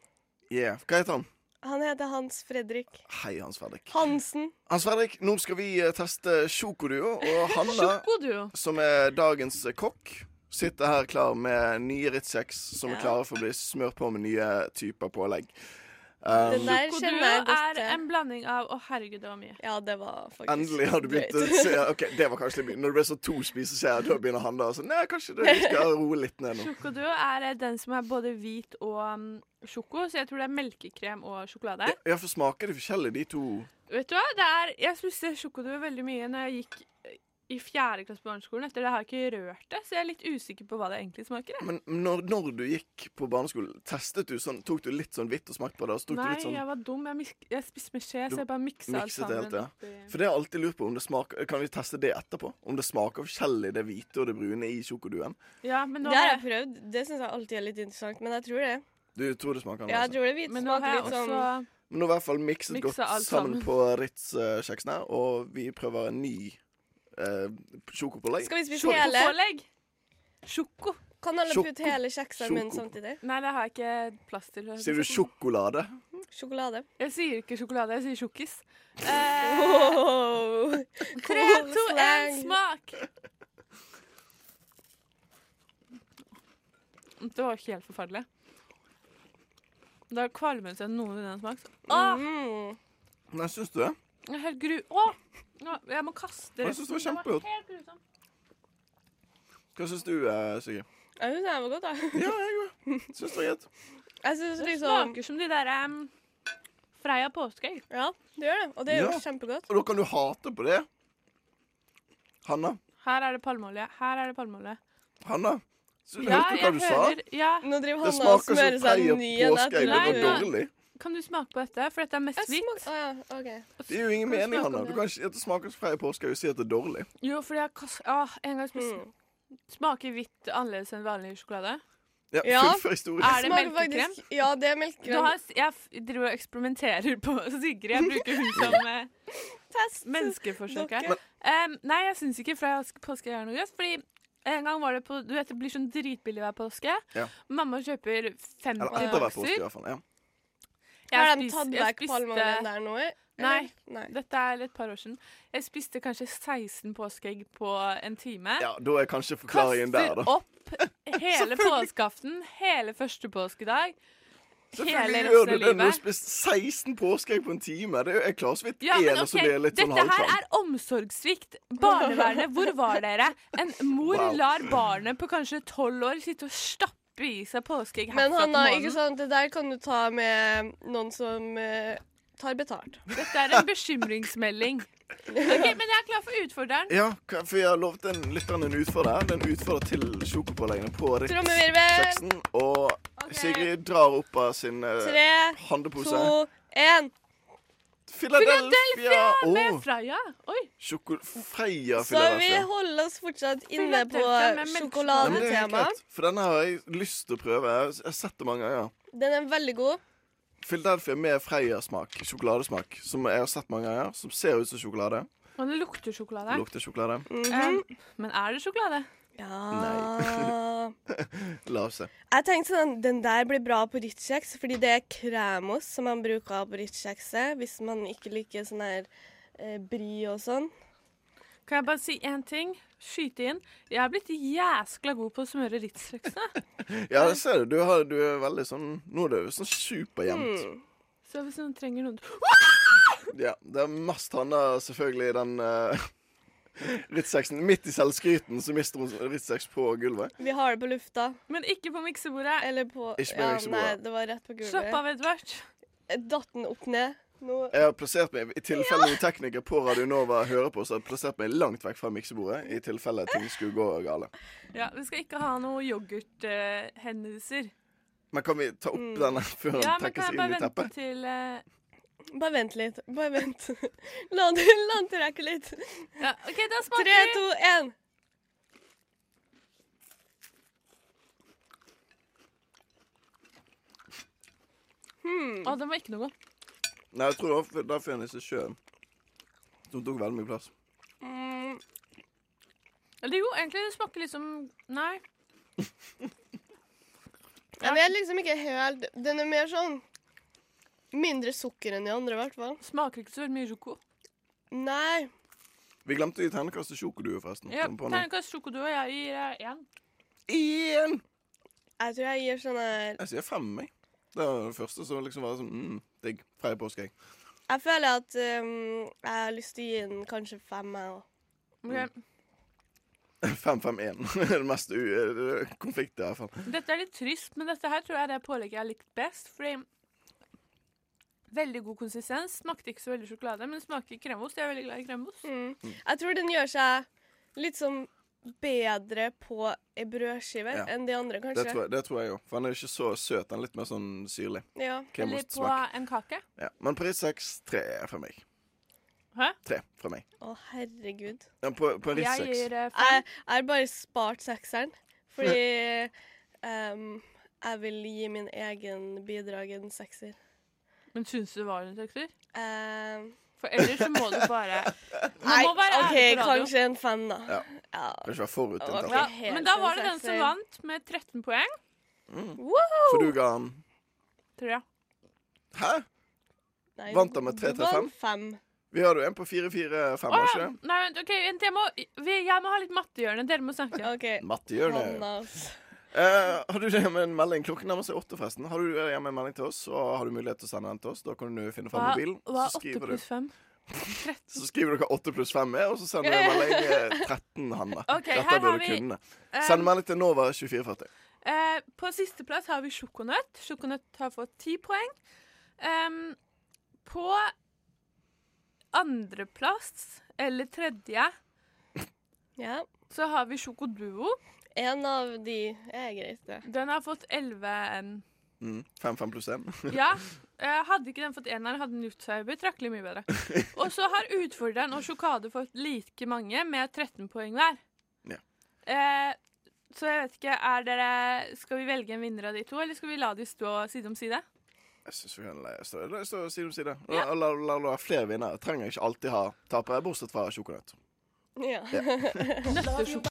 Speaker 6: Yeah. Hva heter han?
Speaker 15: Han heter Hans Fredrik
Speaker 6: Hei, Hans Fredrik.
Speaker 15: Hansen.
Speaker 6: Hans Fredrik, nå skal vi eh, teste sjokoduo, og Hanna
Speaker 10: Sjokoduo.
Speaker 6: som er dagens eh, kokk, sitter her klar med nye Ritz-kjeks som
Speaker 10: Ja.
Speaker 6: er klare for å bli smørt på med nye typer pålegg.
Speaker 15: Den
Speaker 6: Um,
Speaker 15: der kjenner jeg
Speaker 10: Sjokoduo
Speaker 15: godt
Speaker 10: er
Speaker 15: til.
Speaker 10: en blanding av Å, herregud, det var mye.
Speaker 15: Ja, det var faktisk
Speaker 6: endelig har du begynt å
Speaker 15: drøyt.
Speaker 6: se OK, det var kanskje litt mye. Når det ble så to spiseskjeer, da begynner han da og sånn Nei, kanskje du skal roe litt ned nå.
Speaker 10: Sjokoduo er eh, den som er både hvit og mm, sjoko, så jeg tror det er melkekrem og sjokolade.
Speaker 6: Ja, for smaker det forskjellig, de to?
Speaker 10: Vet du hva? Det er, jeg spiste sjokoduo veldig mye når jeg gikk eh, i fjerde klasse på barneskolen. Etter det har jeg ikke rørt det, så jeg er litt usikker på hva det egentlig smaker. jeg.
Speaker 6: Men når, når du gikk på barneskolen, testet du sånn Tok du litt sånn hvitt og smakte på det, og så tok
Speaker 10: Nei,
Speaker 6: du litt sånn
Speaker 10: jeg var dum. Jeg, misk, jeg spiste med skje,
Speaker 6: Du
Speaker 10: så jeg bare miksa alt
Speaker 6: mikset det
Speaker 10: sammen.
Speaker 6: helt, ja.
Speaker 10: oppi-
Speaker 6: For det har jeg alltid lurt på om det smaker Kan vi teste det etterpå? Om det smaker forskjellig, det hvite og det brune i sjokoduen?
Speaker 10: Ja, men nå
Speaker 15: det har
Speaker 10: har
Speaker 15: jeg prøvd. Det syns jeg alltid er litt interessant, men jeg tror det.
Speaker 6: Du tror det smaker
Speaker 15: Ja, jeg tror det hvite
Speaker 10: Men nå har
Speaker 15: smaker
Speaker 10: jeg
Speaker 15: litt sånn
Speaker 10: også
Speaker 6: Men nå har vi i hvert fall mikset
Speaker 10: Miksa
Speaker 6: godt sammen,
Speaker 10: alt sammen.
Speaker 6: på Ritz-kjeksen her, og vi prøver en ny eh, sjokopålegg.
Speaker 15: Skal vi spise
Speaker 10: Sjoko-
Speaker 15: hele?
Speaker 10: pålegg. Sjoko.
Speaker 15: Kan alle
Speaker 6: Sjoko.
Speaker 15: putte hele kjeksa i munnen
Speaker 6: Sjoko.
Speaker 15: samtidig?
Speaker 10: Nei, det har jeg ikke plass til.
Speaker 6: Sier du sjokolade?
Speaker 15: Sjokolade.
Speaker 10: Jeg sier ikke sjokolade, jeg sier tjukkis. Eh,
Speaker 15: Wow.
Speaker 10: Tre,
Speaker 15: Cool
Speaker 10: to, én,
Speaker 15: slang.
Speaker 10: smak! Det var ikke helt forferdelig. Det har kvalmet seg noen i den smak. Åh,
Speaker 6: Nei, syns du det?
Speaker 10: det er helt gru... Åh! Nå- Jeg må kaste
Speaker 6: Jeg synes det var
Speaker 10: resten.
Speaker 6: kjempegodt.
Speaker 10: helt grusomt.
Speaker 6: Hva syns du, eh, Sigrid?
Speaker 15: Jeg syns det her var godt, da.
Speaker 6: Ja, jeg òg. Syns det var greit.
Speaker 15: Jeg synes
Speaker 10: Det
Speaker 15: liksom
Speaker 10: smaker som de der um, Freia påskeegg.
Speaker 15: Ja, det gjør det. Og det er jo
Speaker 6: Ja.
Speaker 15: kjempegodt.
Speaker 6: Og da kan du hate på det. Hanna,
Speaker 10: Her er det palmeolje. Her er det palmeolje.
Speaker 6: Hanna, Så du hørte hva du sa?
Speaker 10: Ja.
Speaker 15: Nå driver
Speaker 6: Det han og smaker som smører seg en ny en påske, etter- det var dårlig.
Speaker 10: Kan du smake på dette? For dette er mest hvitt.
Speaker 6: Det gir jo ingen
Speaker 10: Kan du
Speaker 6: mening,
Speaker 10: smake
Speaker 6: Hanna.
Speaker 10: om
Speaker 6: Du
Speaker 10: det?
Speaker 6: kan ikke si at det smaker som freie påske og si at det er dårlig.
Speaker 10: Jo, fordi jeg kast... Åh, en gang spiste
Speaker 6: Hmm.
Speaker 10: Smaker hvitt annerledes enn vanlig sjokolade?
Speaker 6: Ja, Ja. fullfør historien.
Speaker 10: Er det
Speaker 15: Smaker
Speaker 10: melkekrem?
Speaker 15: faktisk- ja, det er melkekrem.
Speaker 10: Du har, jeg f- driver og eksperimenterer på Sigrid. Jeg bruker hun som eh, menneskeforsøk her.
Speaker 15: Dokke.
Speaker 10: Em, nei, jeg syns ikke fra påske er noe gøy. Fordi en gang var det på Du vet det blir sånn dritbillig hver påske.
Speaker 6: Ja.
Speaker 10: Mamma kjøper 50
Speaker 6: Eller etter hver påske, i
Speaker 10: bokser.
Speaker 6: hvert fall. Ja.
Speaker 15: Har de
Speaker 10: spis-
Speaker 15: tatt
Speaker 10: jeg
Speaker 15: vekk
Speaker 10: spiste-
Speaker 15: palmeoljen der nå? eller?
Speaker 10: Nei, dette er et par år siden. Jeg spiste kanskje 16 påskeegg på en time.
Speaker 6: ja, da er kanskje forklaringen der, da.
Speaker 10: opp hele påskeaften, hele første påskedag, hele
Speaker 6: Selvfølgelig gjør du
Speaker 10: resten av
Speaker 6: det når du har
Speaker 10: livet.
Speaker 6: spist 16 påskeegg på en time. Det er jo jeg klarer så vidt
Speaker 10: Ja, men
Speaker 6: én, og så
Speaker 10: ok,
Speaker 6: blir jeg litt sånn
Speaker 10: Dette her
Speaker 6: halvklam.
Speaker 10: er omsorgssvikt. Barnevernet, hvor var dere? En mor
Speaker 6: Wow.
Speaker 10: lar barnet på kanskje tolv år sitte og stappe i seg påskeegg
Speaker 15: Men
Speaker 10: herfra til
Speaker 15: Hanna,
Speaker 10: månen.
Speaker 15: ikke sant, det der kan du ta med noen som eh, tar betalt.
Speaker 10: Dette er en bekymringsmelding. Ok, Men jeg er klar for utfordreren.
Speaker 6: Ja, hva- for jeg har lovt den lytteren en utfordrer. Den utfordrer til sjokopåleggene på Ritz.
Speaker 15: Trommevirvel!
Speaker 6: Og Sigrid drar opp av sin eh,
Speaker 15: Tre,
Speaker 6: handlepose.
Speaker 15: to, én.
Speaker 6: Philadelphia!
Speaker 15: med
Speaker 6: Åh.
Speaker 10: Freia. Oi.
Speaker 6: Sjoko Freia
Speaker 15: Så vi
Speaker 6: Philadelphia.
Speaker 15: holder oss fortsatt inne på
Speaker 6: Nei,
Speaker 10: Philadelphia med
Speaker 6: men det er helt
Speaker 15: sjokoladetema.
Speaker 6: greit, For denne har jeg lyst til å prøve. Jeg har- jeg har sett det mange ganger.
Speaker 15: Den er veldig god.
Speaker 6: Philadelphia med Freia-smak, sjokoladesmak, som jeg har sett mange ganger. Som ser ut som sjokolade.
Speaker 10: Og det lukter sjokolade.
Speaker 6: Lukter sjokolade.
Speaker 10: Eh, men er det sjokolade?
Speaker 15: Ja.
Speaker 6: La oss se.
Speaker 15: Jeg tenkte sånn, den der blir bra på Ritz-kjeks, fordi det er kremos som man bruker på Ritz-kjekset, hvis man ikke liker sånn her eh, bry og sånn.
Speaker 10: Kan jeg bare si én ting? Skyte inn. Jeg er blitt jæskla god på å smøre ritz
Speaker 6: Ja, jeg ser det. Du, har, du er veldig sånn Nå er det jo sånn superjevnt.
Speaker 15: Mm.
Speaker 10: Så hvis noen trenger noen
Speaker 6: Ja, det er mest Hanna, selvfølgelig, i den uh, Ritz-sexen. Midt i selvskryten så mister hun Ritz-sex på gulvet.
Speaker 15: Vi har det på lufta.
Speaker 10: Men ikke på miksebordet.
Speaker 15: Eller på
Speaker 6: Ikke på
Speaker 15: ja,
Speaker 6: miksebordet.
Speaker 15: Nei, det var rett på gulvet.
Speaker 10: Slapp av, Edvard.
Speaker 15: Datt den opp ned? Nå
Speaker 6: Jeg har plassert meg, I tilfelle noen tekniker på Radio Nova hører på, så har jeg plassert meg langt vekk fra miksebordet. I tilfelle ting skulle gå gale.
Speaker 10: Ja, Vi skal ikke ha noe yoghurthendelser.
Speaker 6: Men kan vi ta opp
Speaker 15: Mm.
Speaker 6: denne før han
Speaker 10: ja, men
Speaker 6: trekker
Speaker 10: kan
Speaker 6: seg
Speaker 10: jeg
Speaker 6: inn
Speaker 10: bare
Speaker 6: i
Speaker 10: vente
Speaker 6: teppet?
Speaker 10: til eh,
Speaker 15: Bare vent litt. Bare vent. La han la han trekke litt.
Speaker 10: Ja, ok, da
Speaker 15: smaker Tre, to, én. Hmm.
Speaker 10: Å, den var ikke noe god.
Speaker 6: Nei, jeg tror det var for- derfor han ikke sjøen. Som tok veldig mye plass.
Speaker 10: Mm. Eller jo, egentlig det smaker litt som Nei.
Speaker 15: Men jeg er liksom ikke helt Den er mer sånn Mindre sukker enn de andre, i hvert fall.
Speaker 10: Smaker ikke så veldig mye sjoko.
Speaker 15: Nei.
Speaker 6: Vi glemte å gi ternekastet sjokodue, forresten.
Speaker 10: Ja,
Speaker 6: Kom på nå.
Speaker 10: Terningkast sjoko du og jeg gir eh, én.
Speaker 6: Én!
Speaker 15: Jeg tror jeg gir sånn her
Speaker 6: Jeg sier fem, jeg. Det var det første som liksom var sånn mm, digg. Freie påskeegg.
Speaker 15: Jeg føler at um, jeg har lyst til å gi den kanskje fem, jeg òg.
Speaker 10: Mm.
Speaker 6: Fem, fem, én. Det er det mest u eh, konflikt, i hvert fall.
Speaker 10: Dette er litt trist, men dette her tror jeg er det pålegget jeg har likt best. Fordi Veldig god konsistens. Smakte ikke så veldig sjokolade, men smaker kremost. Jeg er veldig glad i kremost.
Speaker 15: Mm. Jeg tror den gjør seg litt sånn bedre på ei brødskive
Speaker 6: Ja.
Speaker 15: enn de andre, kanskje.
Speaker 6: Det tror, jeg- det tror jeg jo. For han er ikke så søt. Han er litt mer sånn syrlig.
Speaker 15: Ja.
Speaker 10: Eller på
Speaker 6: Kremostsmak.
Speaker 10: en kake.
Speaker 6: Ja. Men pris seks, tre fra meg.
Speaker 10: Hæ?
Speaker 6: Tre fra meg.
Speaker 15: Å, herregud.
Speaker 6: Ja, på, på en Ritz
Speaker 15: Jeg
Speaker 6: seks.
Speaker 15: Jeg har bare spart sekseren, fordi ehm, jeg vil gi min egen bidrag en sekser.
Speaker 10: Men syns du det var en sekser?
Speaker 15: Ehm,
Speaker 10: For ellers så må du bare Man
Speaker 15: Nei,
Speaker 10: må være
Speaker 15: OK,
Speaker 10: ærlig på radio.
Speaker 15: kanskje en fem, da.
Speaker 6: Ja.
Speaker 15: Kan
Speaker 6: ikke være forutinntatt.
Speaker 10: Ja, men da var det den som vant med 13 poeng.
Speaker 6: Mm.
Speaker 10: Wow!
Speaker 6: For du ga han
Speaker 10: Tror jeg.
Speaker 6: Hæ? Vant han med tre, tre, fem? Vi har jo en på fire, fire, fem, har
Speaker 10: Å,
Speaker 6: ikke
Speaker 10: ja.
Speaker 6: det?
Speaker 10: Nei, vent, OK, vent, jeg må, vi, jeg må ha litt mattehjørne. Dere må snakke.
Speaker 6: Mattehjørne. Eh, har du det med en melding? Klokken nærmer seg åtte, forresten. Har du det hjemme en melding til oss, og har du mulighet til å sende den til oss, da kan du finne fram
Speaker 10: Hva,
Speaker 6: mobilen.
Speaker 10: hva
Speaker 6: Så
Speaker 10: er 8
Speaker 6: skriver du
Speaker 10: pluss 5?
Speaker 6: Så skriver du hva 8 pluss 5 er, og så sender du en melding eh, 13, Hanne.
Speaker 10: Ok,
Speaker 6: Dette
Speaker 10: her har
Speaker 6: bør du
Speaker 10: vi,
Speaker 6: kunne.
Speaker 10: eh,
Speaker 6: Send melding til Nova 2440.
Speaker 10: Eh, på sisteplass har vi sjokonøtt. Sjokonøtt har fått 10 poeng. Em, på andreplass, eller tredje,
Speaker 15: Ja.
Speaker 10: så har vi sjokoduo.
Speaker 15: En av de er greit, det.
Speaker 10: Den har fått 11 N.
Speaker 6: Mm. Fem, fem pluss én.
Speaker 10: Ja. eh, Hadde ikke den fått eneren, hadde Nutzhauer betraktelig mye bedre. Og så har utfordreren og Sjokade fått like mange, med 13 poeng hver.
Speaker 6: Ja.
Speaker 10: Eh, så jeg vet ikke, er dere Skal vi velge en vinner av de to, eller skal vi la de stå side om side?
Speaker 6: Jeg syns vi kan la- stå la- stå side om side. La la- la- la det være flere vinnere. Trenger ikke alltid ha tapere, bortsett fra sjokonøtt.
Speaker 15: Ja.
Speaker 6: Ja.